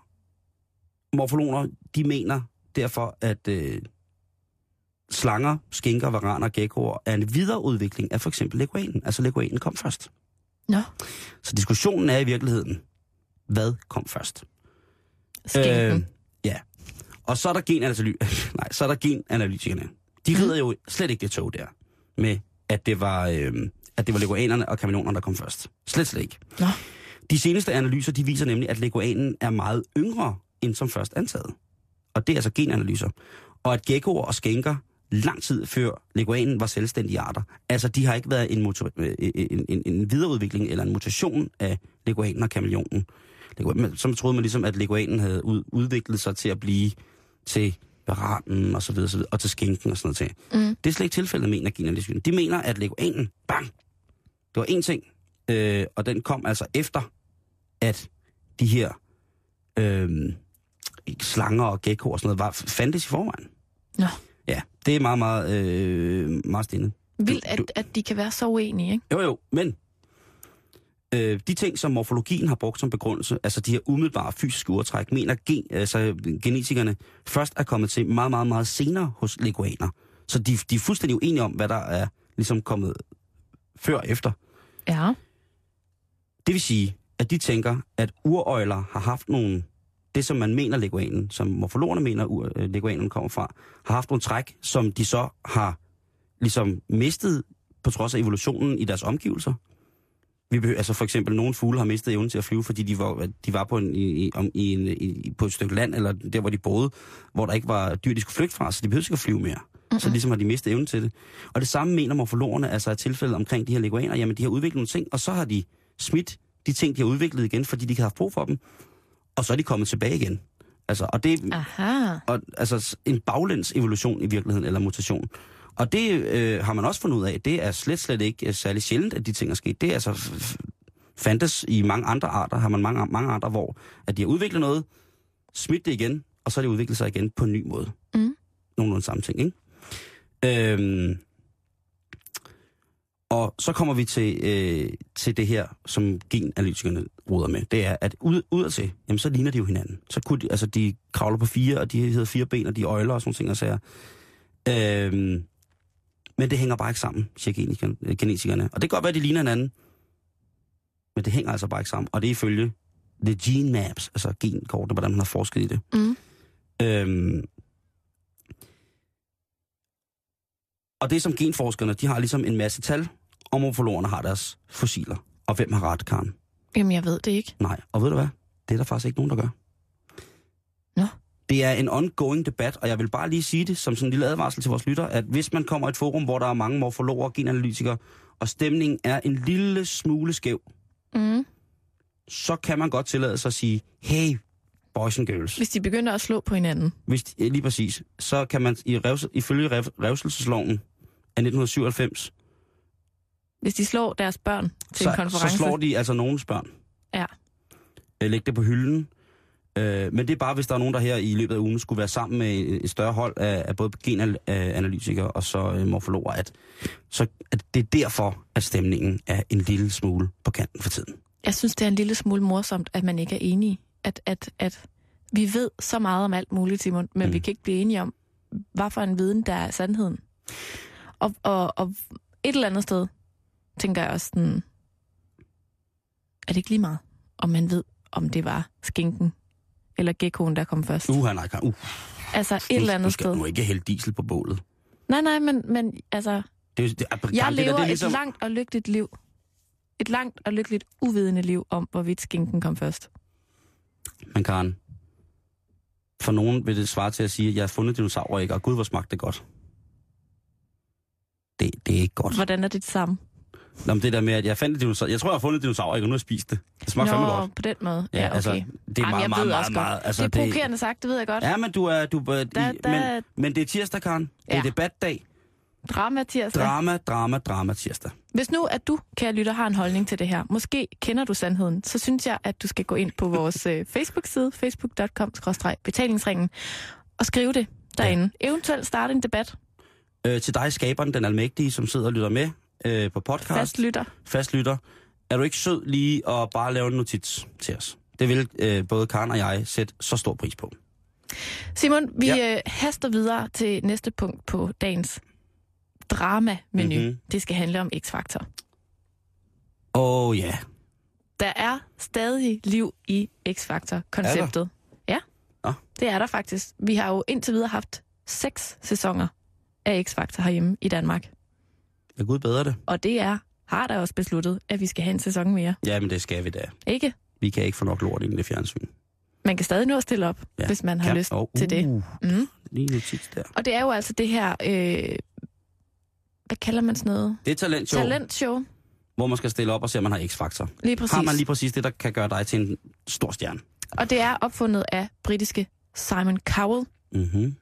S4: morfologer, de mener derfor, at øh, slanger, skinker, varaner og geckoer er en videreudvikling af for eksempel leguanen. Altså leguanen kom først.
S5: Nå,
S4: Så diskussionen er i virkeligheden, hvad kom først?
S5: skinken.
S4: Øh, ja. Og så er der genanalytikerne. Nej, så er der genanalytikerne. De rider jo slet ikke det tog der med, at det var, øh, at det var leguanerne og kameleonerne, der kom først. Slet, slet ikke.
S5: Nå.
S4: De seneste analyser, de viser nemlig, at leguanen er meget yngre, end som først antaget. Og det er altså genanalyser. Og at geckoer og skænker lang tid før leguanen var selvstændige arter. Altså, de har ikke været en, motor, øh, en, en, en videreudvikling eller en mutation af leguanen og kameleonen. Leguan- men Så troede man ligesom, at leguanen havde ud, udviklet sig til at blive til, hvad baranen og så videre, så videre, og til skinken og sådan noget ting.
S5: Mm.
S4: Det er slet ikke tilfældet, mener Gina Lisbyen. De mener, at leguanen, bang, det var én ting, øh, og den kom altså efter, at de her øh, slanger og geckoer og sådan noget var, fandtes i forvejen.
S5: Nå.
S4: Ja, det er meget, meget, øh, meget stille.
S5: Vildt,
S4: Du-
S5: at, at de kan være så uenige, ikke?
S4: Jo, jo, men øh, de ting, som morfologien har brugt som begrundelse, altså de her umiddelbare fysiske urtræk, mener gen, altså, genetikerne først er kommet til meget, meget, meget senere hos leguaner. Så de, de er fuldstændig uenige om, hvad der er ligesom kommet før og efter.
S5: Ja.
S4: Det vil sige, at de tænker, at urøjler har haft nogle, det som man mener leguanen, som morfologerne mener ur- øh, leguanen kommer fra, har haft nogle træk, som de så har ligesom mistet på trods af evolutionen i deres omgivelser. Vi behøver, altså for eksempel, nogle fugle har mistet evnen til at flyve, fordi de var, de var på, en, i, i- om, i en, i, på et stykke land, eller der, hvor de boede, hvor der ikke var dyr, de skulle flygte fra, så de behøvede ikke at flyve mere. Mm-hmm. Så ligesom har de mistet evnen til det. Og det samme mener morfologerne, altså er tilfældet omkring de her leguaner, jamen de har udviklet nogle ting, og så har de smidt de ting, de har udviklet igen, fordi de ikke har haft brug for dem, og så er de kommet tilbage igen. Altså, og det,
S5: Aha.
S4: og, altså s- en baglæns evolution i virkeligheden, eller mutation. Og det øh, har man også fundet ud af, det er slet, slet ikke øh, særlig sjældent, at de ting er sket. Det er altså f- f- fandtes i mange andre arter, har man mange, mange arter, hvor at de har udviklet noget, smidt det igen, og så har det udviklet sig igen på en ny måde.
S5: Mm.
S4: Nogenlunde samme ting, ikke? Øhm, og så kommer vi til, øh, til det her, som genanalytikerne ruder med. Det er, at ud, udadtil, jamen så ligner de jo hinanden. Så kunne de, altså de kravler på fire, og de hedder fire ben, og de er øjler og sådan nogle ting og sager. Øhm, men det hænger bare ikke sammen, siger genikerne- øh, genetikerne. Og det kan godt være, at de ligner hinanden, men det hænger altså bare ikke sammen. Og det er ifølge The Gene Maps, altså genkortene, hvordan man har forsket i det.
S5: Mm.
S4: Øhm, og det er som genforskerne, de har ligesom en masse tal, og morfologerne har deres fossiler. Og hvem har ret, Karen?
S5: Jamen, jeg ved det ikke.
S4: Nej. Og ved du hvad? Det er der faktisk ikke nogen, der gør.
S5: Nå.
S4: Det er en ongoing debat, og jeg vil bare lige sige det som sådan en lille advarsel til vores lytter, at hvis man kommer i et forum, hvor der er mange morfologer og genanalytikere, og stemningen er en lille smule skæv,
S5: Mm.
S4: så kan man godt tillade sig at sige, hey, boys and girls.
S5: Hvis de begynder at slå på hinanden.
S4: hvis de, lige præcis, så kan man i revs, ifølge rev, revselsesloven af 1997,
S5: Hvis de slår deres børn til en
S4: så, så
S5: konference.
S4: slår de altså nogens børn.
S5: Ja.
S4: Øh, Læg det på hylden. Øh, men det er bare, hvis der er nogen, der her i løbet af ugen skulle være sammen med et større hold af, af både genanalytikere og så øh, morfologer, at, så, at det er derfor, at stemningen er en lille smule på kanten for tiden.
S5: Jeg synes, det er en lille smule morsomt, at man ikke er enige. At, at, at vi ved så meget om alt muligt, Simon, men
S4: Mm.
S5: mm. vi kan ikke blive enige om, hvad for en viden, der er sandheden. Og, og, og et eller andet sted, tænker jeg også sådan, er det ikke lige meget, om man ved, om det var skinken eller gekkoen, der kom først.
S4: Uh, nej, Karen. uh,
S5: Altså et eller
S4: nu
S5: andet
S4: skal
S5: sted.
S4: du nu ikke hælde diesel på bålet.
S5: Nej, nej, men, men altså,
S4: Det, er jo- det, er- Karen,
S5: jeg
S4: det, der,
S5: lever
S4: det er ligesom-
S5: et langt og lykkeligt liv. Et langt og lykkeligt uvidende liv om, hvorvidt skinken kom først.
S4: Men Karen, for nogen vil det svare til at sige, at jeg har fundet dinosaurer, ikke? Og gud, hvor smagte det godt. Det, det er ikke godt.
S5: Hvordan er det det samme?
S4: Nå, men det der med, at jeg fandt et dinosaur. Jeg tror, jeg har fundet et dinosaur, ikke? Og nu har jeg spist det. Det smagte fandme godt.
S5: på den måde. Ja,
S4: Ja,
S5: okay.
S4: altså,
S5: Altså,
S4: det er meget,
S5: jeg
S4: meget,
S5: ved
S4: meget,
S5: også
S4: meget-
S5: godt.
S4: altså,
S5: det
S4: det-
S5: er provokerende sagt, det ved jeg godt. Ja,
S4: Ja, men du er... Du, da,
S5: der, der men, er
S4: men, men det er tirsdag, Karen. Det er
S5: Ja.
S4: debatdag.
S5: drama tirsdag.
S4: Drama, drama, drama tirsdag.
S5: Hvis nu, at du, kære lytter, har en holdning til det her, måske kender du sandheden, så synes jeg, at du skal gå ind på vores øh, Facebook-side, facebook.com-betalingsringen, og skrive det derinde. Ja. Eventuelt starte en debat.
S4: Øh, til dig, skaberen, den almægtige, som sidder og lytter med øh, på podcast.
S5: Fast lytter.
S4: fastlytter, er du ikke sød lige at bare lave en notits til os? Det vil øh, både Karen og jeg sætte så stor pris på.
S5: Simon, vi ja. øh, haster videre til næste punkt på dagens drama-menu.
S4: Mhm.
S5: Mm-hmm. Det skal handle om X-Factor.
S4: Åh oh, ja. Yeah.
S5: Der er stadig liv i X-Factor-konceptet. Ja,
S4: Nå.
S5: det er der faktisk. Vi har jo indtil videre haft seks sæsoner af X-Factor herhjemme i Danmark.
S4: Ja, Gud bedre det.
S5: Og det er, har der også besluttet, at vi skal have en sæson mere.
S4: Ja, men det skal vi da.
S5: Ikke?
S4: Vi kan ikke få nok lort ind i det fjernsyn.
S5: Man kan stadig nå at stille op,
S4: Ja,
S5: ja, hvis man har
S4: kan.
S5: lyst
S4: Åh,
S5: til det.
S4: Uh,
S5: Mm.
S4: lige nu tit der.
S5: Og det er jo altså det her, øh, hvad kalder man sådan noget?
S4: Det er talentshow, Talent.
S5: Talentshow.
S4: hvor man skal stille op og se, om man har x-faktor.
S5: Lige præcis.
S4: Har man lige præcis det, der kan gøre dig til en stor stjerne?
S5: Og det er opfundet af britiske Simon Cowell,
S4: Mhm.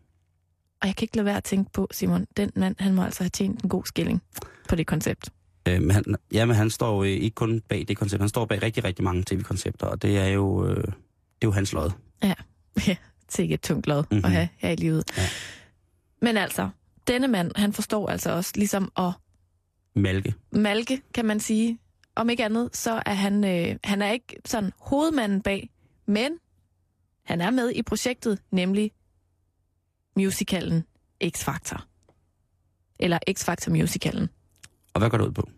S5: Og jeg kan ikke lade være at tænke på, Simon, den mand, han må altså have tjent en god skilling på det koncept.
S4: Øhm, han, jamen, han står jo øh, ikke kun bag det koncept, han står bag rigtig, rigtig mange tv-koncepter, og det er jo, øh, det er jo hans lod.
S5: Ja, sikke et tungt lod
S4: Mhm.
S5: at have her i livet.
S4: Ja.
S5: Men altså, denne mand, han forstår altså også ligesom at
S4: Malke.
S5: malke, kan man sige. Om ikke andet, så er han, øh, han er ikke sådan hovedmanden bag, men han er med i projektet, nemlig musicalen X-Factor. Eller X-Factor musicalen.
S4: Og hvad går det ud på?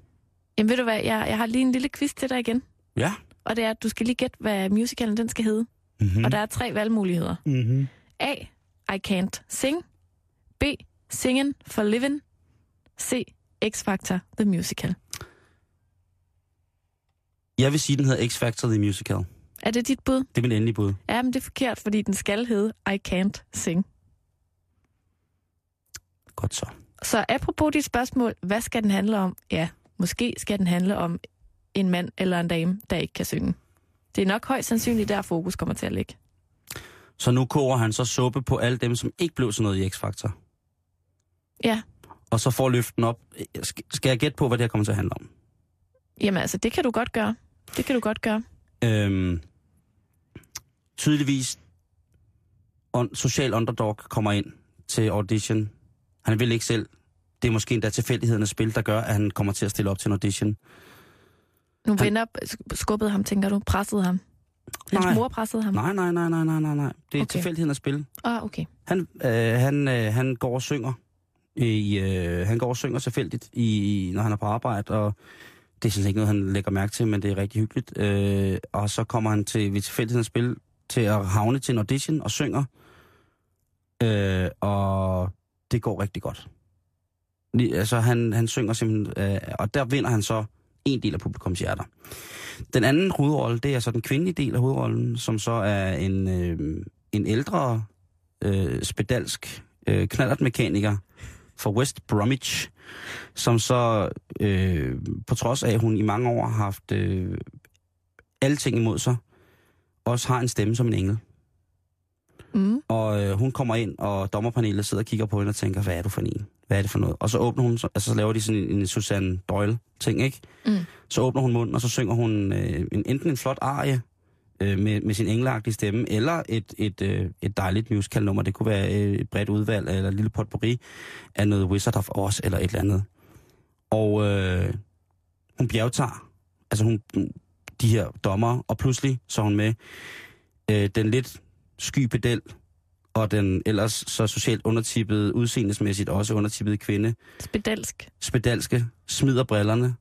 S5: Jamen ved du hvad, jeg, jeg har lige en lille quiz til dig igen.
S4: Ja.
S5: Og det er, at du skal lige gætte, hvad musicalen den skal hedde.
S4: Mm-hmm.
S5: Mm. Og der er tre valgmuligheder.
S4: Mm-hmm.
S5: A. I can't sing. B. Singen for living. C. X-Factor The Musical.
S4: Jeg vil sige, den hedder X-Factor The Musical.
S5: Er det dit bud?
S4: Det er mit endelige bud.
S5: Ja, men det er forkert, fordi den skal hedde I Can't Sing.
S4: Godt så.
S5: Så apropos dit spørgsmål, hvad skal den handle om? Ja, måske skal den handle om en mand eller en dame, der ikke kan synge. Det er nok højst sandsynligt, der fokus kommer til at ligge.
S4: Så nu koger han så suppe på alle dem, som ikke blev sådan noget i X-Factor.
S5: Ja.
S4: Og så får løften op. Øh, sk- Skal jeg gætte på, hvad det her kommer til at handle om?
S5: Jamen altså, det kan du godt gøre. Det kan du godt gøre.
S4: Øhm, tydeligvis, on, social underdog kommer ind til audition. Han vil ikke selv. Det er måske endda tilfældighedernes spil, der gør, at han kommer til at stille op til en audition.
S5: Nu vender skubbede ham, tænker du. Pressede ham. Hans
S4: Nej.
S5: mor pressede ham.
S4: Nej, nej, nej, nej, nej, nej, nej. Det er
S5: Okay.
S4: okay. tilfældighedernes spil.
S5: Ah, okay.
S4: Han, øh, han, øh, han går og synger. I, øh, han går og synger tilfældigt, i, i- når han er på arbejde, og det er sådan set ikke noget, han lægger mærke til, men det er rigtig hyggeligt. Øh, og så kommer han til, ved tilfældighedens spil til at havne til en audition og synger. Øh, og det går rigtig godt. Lige- Altså, han, han synger simpelthen, øh, og der vinder han så en del af publikums hjerter. Den anden hovedrolle, det er så den kvindelige del af hovedrollen, som så er en, øh, en ældre øh, spedalsk øh, knallertmekaniker fra West Bromwich, som så øh, på trods af, at hun i mange år har haft øh, alle ting imod sig, også har en stemme som en engel.
S5: Mm.
S4: Og øh, hun kommer ind, og dommerpanelet sidder og kigger på hende og tænker, hvad er du for en? Hvad er det for noget? Og så åbner hun, altså så laver de sådan en, en Susanne Doyle-ting, ikke?
S5: Mm.
S4: Så åbner hun munden, og så synger hun øh, en, enten en flot arie øh, med, med sin engleagtige stemme, eller et, et, øh, et dejligt musical-nummer. Det kunne være øh, et bredt udvalg, eller et lille potpourri af noget Wizard of Oz, eller et eller andet. Og øh, hun bjergtager, altså hun, de her dommer, og pludselig så er hun med øh, den lidt sky pedel, og den ellers så socialt undertippede, udseendesmæssigt også undertippede kvinde,
S5: Spedalsk.
S4: spedalske, smider brillerne.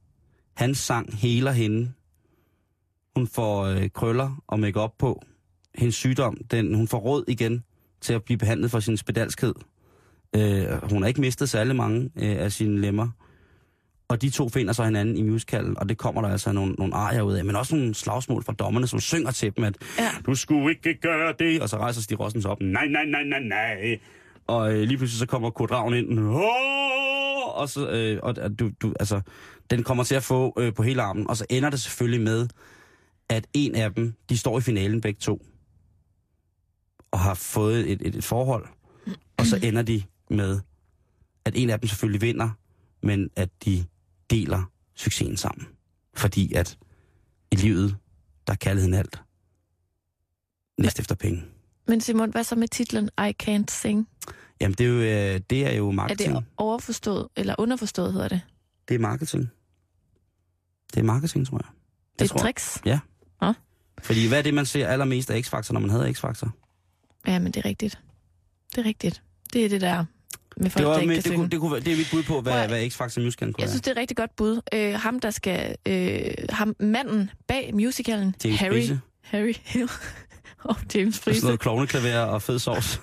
S4: Hans sang heler hende. Hun får øh, krøller og makeup på. Hendes sygdom, den, hun får råd igen til at blive behandlet for sin spedalskhed. Øh, hun har ikke mistet særlig mange øh, af sine lemmer. Og de to finder så hinanden i musicalen, og det kommer der altså nogle, nogle arier ud af, men også nogle slagsmål fra dommerne, som synger til dem, at
S5: Ja.
S4: du skulle ikke gøre det, og så rejser Stig Rossens op, nej, nej, nej, nej, nej. Og øh, lige pludselig så kommer Kurt Ravn ind, Åh! og så, øh, og, og du, du, altså, den kommer til at få øh, på hele armen, og så ender det selvfølgelig med, at en af dem, de står i finalen begge to, og har fået et, et, et forhold, og så ender de med, at en af dem selvfølgelig vinder, men at de deler succesen sammen. Fordi at i livet, der er kærligheden alt. Næst efter penge.
S5: Men Simon, hvad så med titlen I Can't Sing?
S4: Jamen, det er jo, øh, det er jo
S5: Er
S4: marketing.
S5: det overforstået, eller underforstået hedder det?
S4: Det er marketing. Det er marketing, tror jeg.
S5: Det er
S4: tror
S5: et
S4: jeg.
S5: tricks.
S4: Fordi hvad er det, man ser allermest af X-Factor, når man havde X-Factor?
S5: Ja, men det er rigtigt. Det er rigtigt. Det er det der med folk,
S4: Det, var,
S5: der ikke
S4: men,
S5: kan
S4: det,
S5: synge.
S4: kunne, det, kunne, være- det er mit bud på,
S5: Prøv
S4: hvad,
S5: at-
S4: hvad X-Factor musicalen kunne
S5: Jeg
S4: være.
S5: synes, det er et rigtig godt bud. Øh, ham, der skal... Øh, ham, manden bag musicalen,
S4: James
S5: Harry,
S4: Frise.
S5: Harry Hill og
S4: Og
S5: James
S4: sådan
S5: Frise.
S4: noget klovneklaver og fed sovs.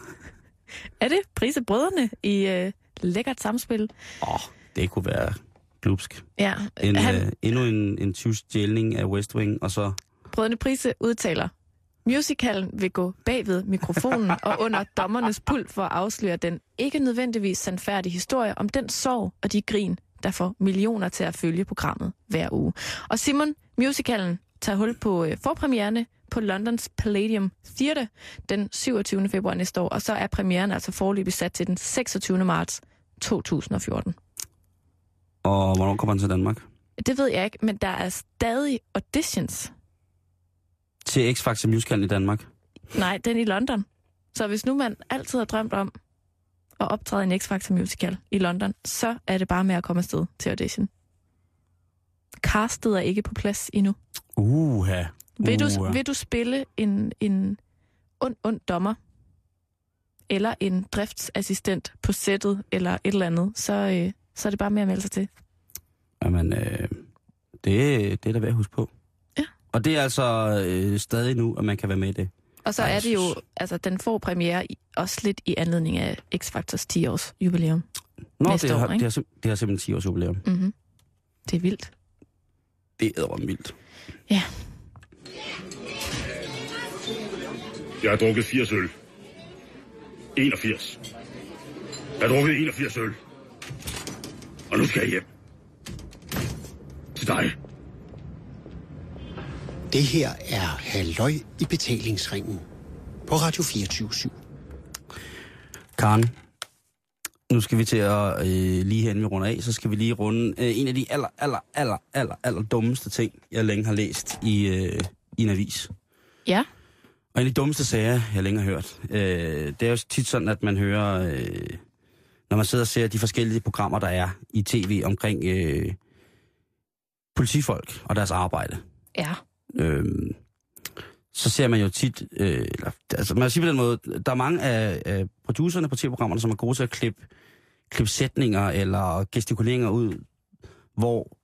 S5: Er det Prise Brødrene i øh, lækkert samspil?
S4: Åh, oh, det kunne være glupsk.
S5: Ja,
S4: En,
S5: han,
S4: øh, endnu en, en tyvstjælning af West Wing, og så
S5: Brødrene Prise udtaler, musicalen vil gå bagved mikrofonen og under dommernes pult for at afsløre den ikke nødvendigvis sandfærdige historie om den sorg og de grin, der får millioner til at følge programmet hver uge. Og Simon, musicalen tager hul på øh, forpremierne på Londons Palladium Theatre den 27. februar næste år, og så er premieren altså forløbig sat til den 26. marts 2014.
S4: Og hvornår kommer den til Danmark?
S5: Det ved jeg ikke, men der er stadig auditions.
S4: Til X-Factor Musicalen i Danmark.
S5: Nej, den i London. Så hvis nu man altid har drømt om at optræde i en X-Factor musical i London, så er det bare med at komme afsted til audition. Castet er ikke på plads endnu.
S4: Uha.
S5: Vil,
S4: Uha.
S5: du, vil du spille en, en ond, ond dommer, eller en driftsassistent på sættet, eller et eller andet, så, øh, så er det bare med at melde sig til.
S4: Jamen, øh, det, det er da værd at huske på.
S5: Ja.
S4: Og det er altså øh, stadig nu, at man kan være med i det.
S5: Og så
S4: Ej,
S5: er
S4: jeg
S5: det jo,
S4: synes-
S5: altså den får premiere i, også lidt i anledning af X-Factors 10-års jubilæum.
S4: Nå,
S5: Næste
S4: det,
S5: år,
S4: har, det,
S5: ikke?
S4: har, sim- det har simpelthen 10 års jubilæum.
S5: Mm-hmm. Det er vildt.
S4: Det er vildt.
S5: Ja.
S6: Jeg har drukket 80 øl. 81. Jeg har drukket 81 øl. Og nu skal jeg hjem. Til dig.
S7: Det her er Halløj i betalingsringen på Radio 24 /7.
S4: Karen, nu skal vi til at, øh, lige herinde vi runder af, så skal vi lige runde øh, en af de aller, aller, aller, aller, aller dummeste ting, jeg længe har læst i, øh, i en avis.
S5: Ja.
S4: Og en af de dummeste sager, jeg længe har hørt, øh, det er jo tit sådan, at man hører, øh, når man sidder og ser de forskellige programmer, der er i tv omkring øh, politifolk og deres arbejde.
S5: Ja.
S4: øh, så ser man jo tit, øh, eller, altså man siger på den måde, der er mange af, af producerne på tv-programmerne, som er gode til at klippe, klippe sætninger eller gestikuleringer ud, hvor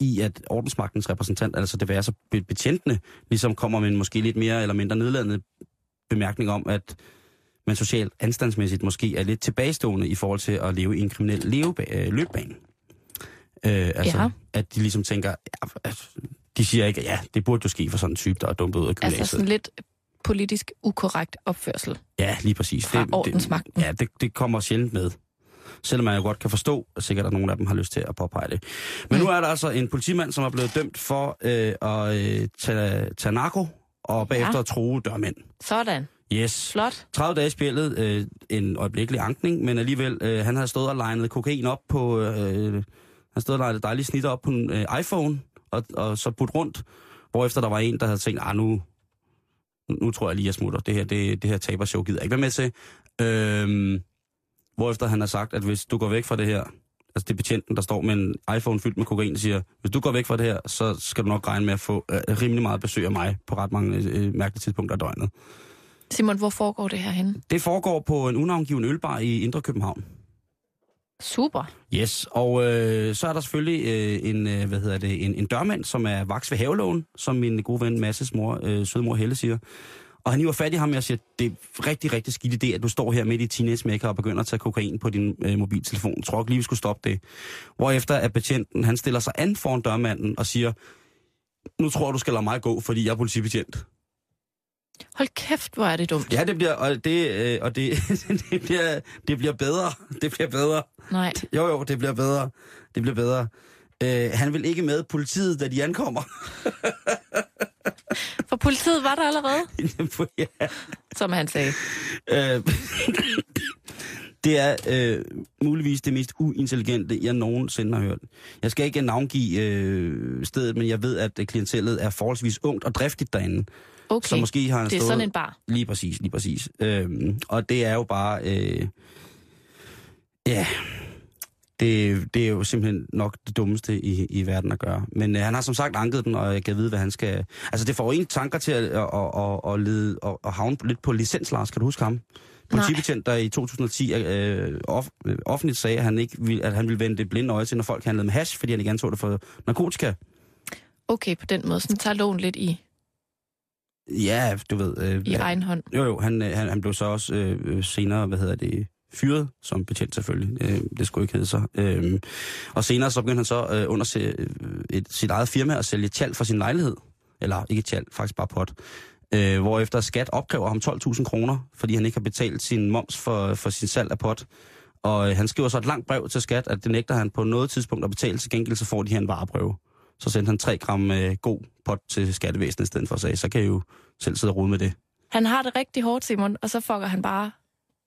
S4: i at ordensmagtens repræsentant, altså det være så betjentene, ligesom kommer med en måske lidt mere eller mindre nedladende bemærkning om, at man socialt anstandsmæssigt måske er lidt tilbagestående i forhold til at leve i en kriminel leveba- øh, løbbane. Øh, altså,
S5: Ja.
S4: ja. at de ligesom tænker, ja, altså, de siger ikke, ja, det burde jo ske for sådan en type, der er dumpet ud af gymnasiet.
S5: Altså sådan lidt politisk ukorrekt opførsel.
S4: Ja, lige præcis.
S5: Fra ordensmagten.
S4: Det, ja, det, det kommer sjældent med. Selvom man jo godt kan forstå, at sikkert at nogle af dem har lyst til at påpege det. Men nu er der altså en politimand, som er blevet dømt for øh, at øh, tage, tage narko og bagefter ja. at true dørmænd.
S5: Sådan.
S4: Yes.
S5: Flot.
S4: 30 dage spillet, øh, en øjeblikkelig ankning, men alligevel, øh, han havde stået og legnet kokain op på, øh, han stod og legnet dejlige snitter op på en øh, iPhone, og, og så putt rundt, hvorefter der var en, der havde tænkt, ah, nu, nu tror jeg lige, jeg smutter. Det her, det, det her tabershow gider jeg ikke være med til. Øhm, hvorefter han har sagt, at hvis du går væk fra det her, altså det er betjenten, der står med en iPhone fyldt med kokain, der siger, hvis du går væk fra det her, så skal du nok regne med at få øh, rimelig meget besøg af mig på ret mange øh, mærkelige tidspunkter af døgnet.
S5: Simon, hvor foregår det her henne?
S4: Det foregår på en unavngiven ølbar i Indre København.
S5: Super.
S4: Yes, og øh, så er der selvfølgelig øh, en, øh, hvad hedder det, en, en dørmand, som er vaks ved havelån, som min gode ven Masses mor, øh, sødmor Helle siger. Og han hiver fat i ham og siger, det er rigtig, rigtig skidt idé, at du står her midt i teenage makeup og begynder at tage kokain på din øh, mobiltelefon. Jeg tror ikke lige, vi skulle stoppe det. Hvorefter at betjenten, han stiller sig an foran dørmanden og siger, nu tror jeg, du skal lade mig gå, fordi jeg er politibetjent.
S5: Hold kæft, hvor er det dumt.
S4: Ja, det bliver, og det, øh, og det, det, bliver, det bliver bedre. Det bliver bedre.
S5: Nej.
S4: Jo, jo, det bliver bedre. Det bliver bedre. Øh, han vil ikke med politiet, da de ankommer.
S5: For politiet var der allerede,
S4: ja.
S5: som han sagde.
S4: øh, det er øh, muligvis det mest uintelligente, jeg nogensinde har hørt. Jeg skal ikke navngive øh, stedet, men jeg ved, at klientellet er forholdsvis ungt og driftigt derinde.
S5: Okay,
S4: Så måske har han
S5: det er
S4: stået...
S5: sådan en bar.
S4: Lige præcis, lige præcis. Øhm, og det er jo bare... Øh, ja, det, det er jo simpelthen nok det dummeste i, i verden at gøre. Men øh, han har som sagt anket den, og jeg kan vide, hvad han skal... Altså, det får en tanker til at, at, at, at, lede, at, at havne lidt på licens, Lars. Kan du huske ham? Politibetjent, der i 2010 øh, off, øh, offentligt sagde, at han, ikke ville, at han ville vende det blinde øje til, når folk handlede med hash, fordi han ikke anså det for narkotika.
S5: Okay, på den måde. Sådan tager loven lidt i,
S4: Ja, du ved... Øh,
S5: i
S4: ja.
S5: egen hånd.
S4: Jo, jo, han, øh, han, han blev så også øh, øh, senere, hvad hedder det, fyret som betjent selvfølgelig. Øh, det skulle ikke hedde sig. Øh, og senere så begyndte han så øh, under se, øh, et, sit eget firma at sælge tjal for sin lejlighed. Eller ikke tjal, faktisk bare pot. Øh, hvorefter skat opkræver ham 12.000 kroner, fordi han ikke har betalt sin moms for, for sin salg af pot. Og øh, han skriver så et langt brev til skat, at det nægter han på noget tidspunkt at betale. Til gengæld så får de her en vareprøve. Så sendte han 3 gram øh, god pot til skattevæsenet i stedet for at sige, så kan I jo selv sidde og rode med det.
S5: Han har det rigtig hårdt, Simon, og så fucker han bare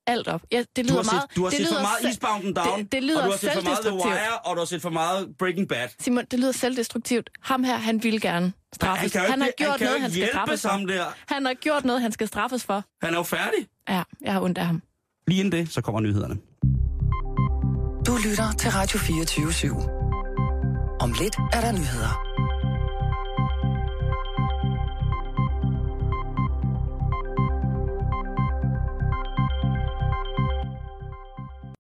S5: alt op. Ja, det lyder
S4: Du har set,
S5: meget,
S4: du har
S5: det
S4: set for
S5: lyder
S4: meget
S5: se-
S4: Eastbound and Down,
S5: det, det lyder
S4: og du har set for meget The
S5: selvdestruktivt.
S4: Wire, og du har set for meget Breaking Bad.
S5: Simon, det lyder selvdestruktivt. Ham her, han vil gerne
S4: Han
S5: straffes.
S4: kan jo ikke,
S5: han har gjort
S4: han kan jo
S5: noget,
S4: ikke
S5: han skal
S4: hjælpe
S5: straffes for.
S4: sammen der.
S5: Han har gjort noget, han skal straffes for.
S4: Han er jo færdig.
S5: Ja, jeg har ondt af ham.
S4: Lige inden det, så kommer nyhederne.
S3: Du lytter til Radio 24 /7. Om lidt er der nyheder.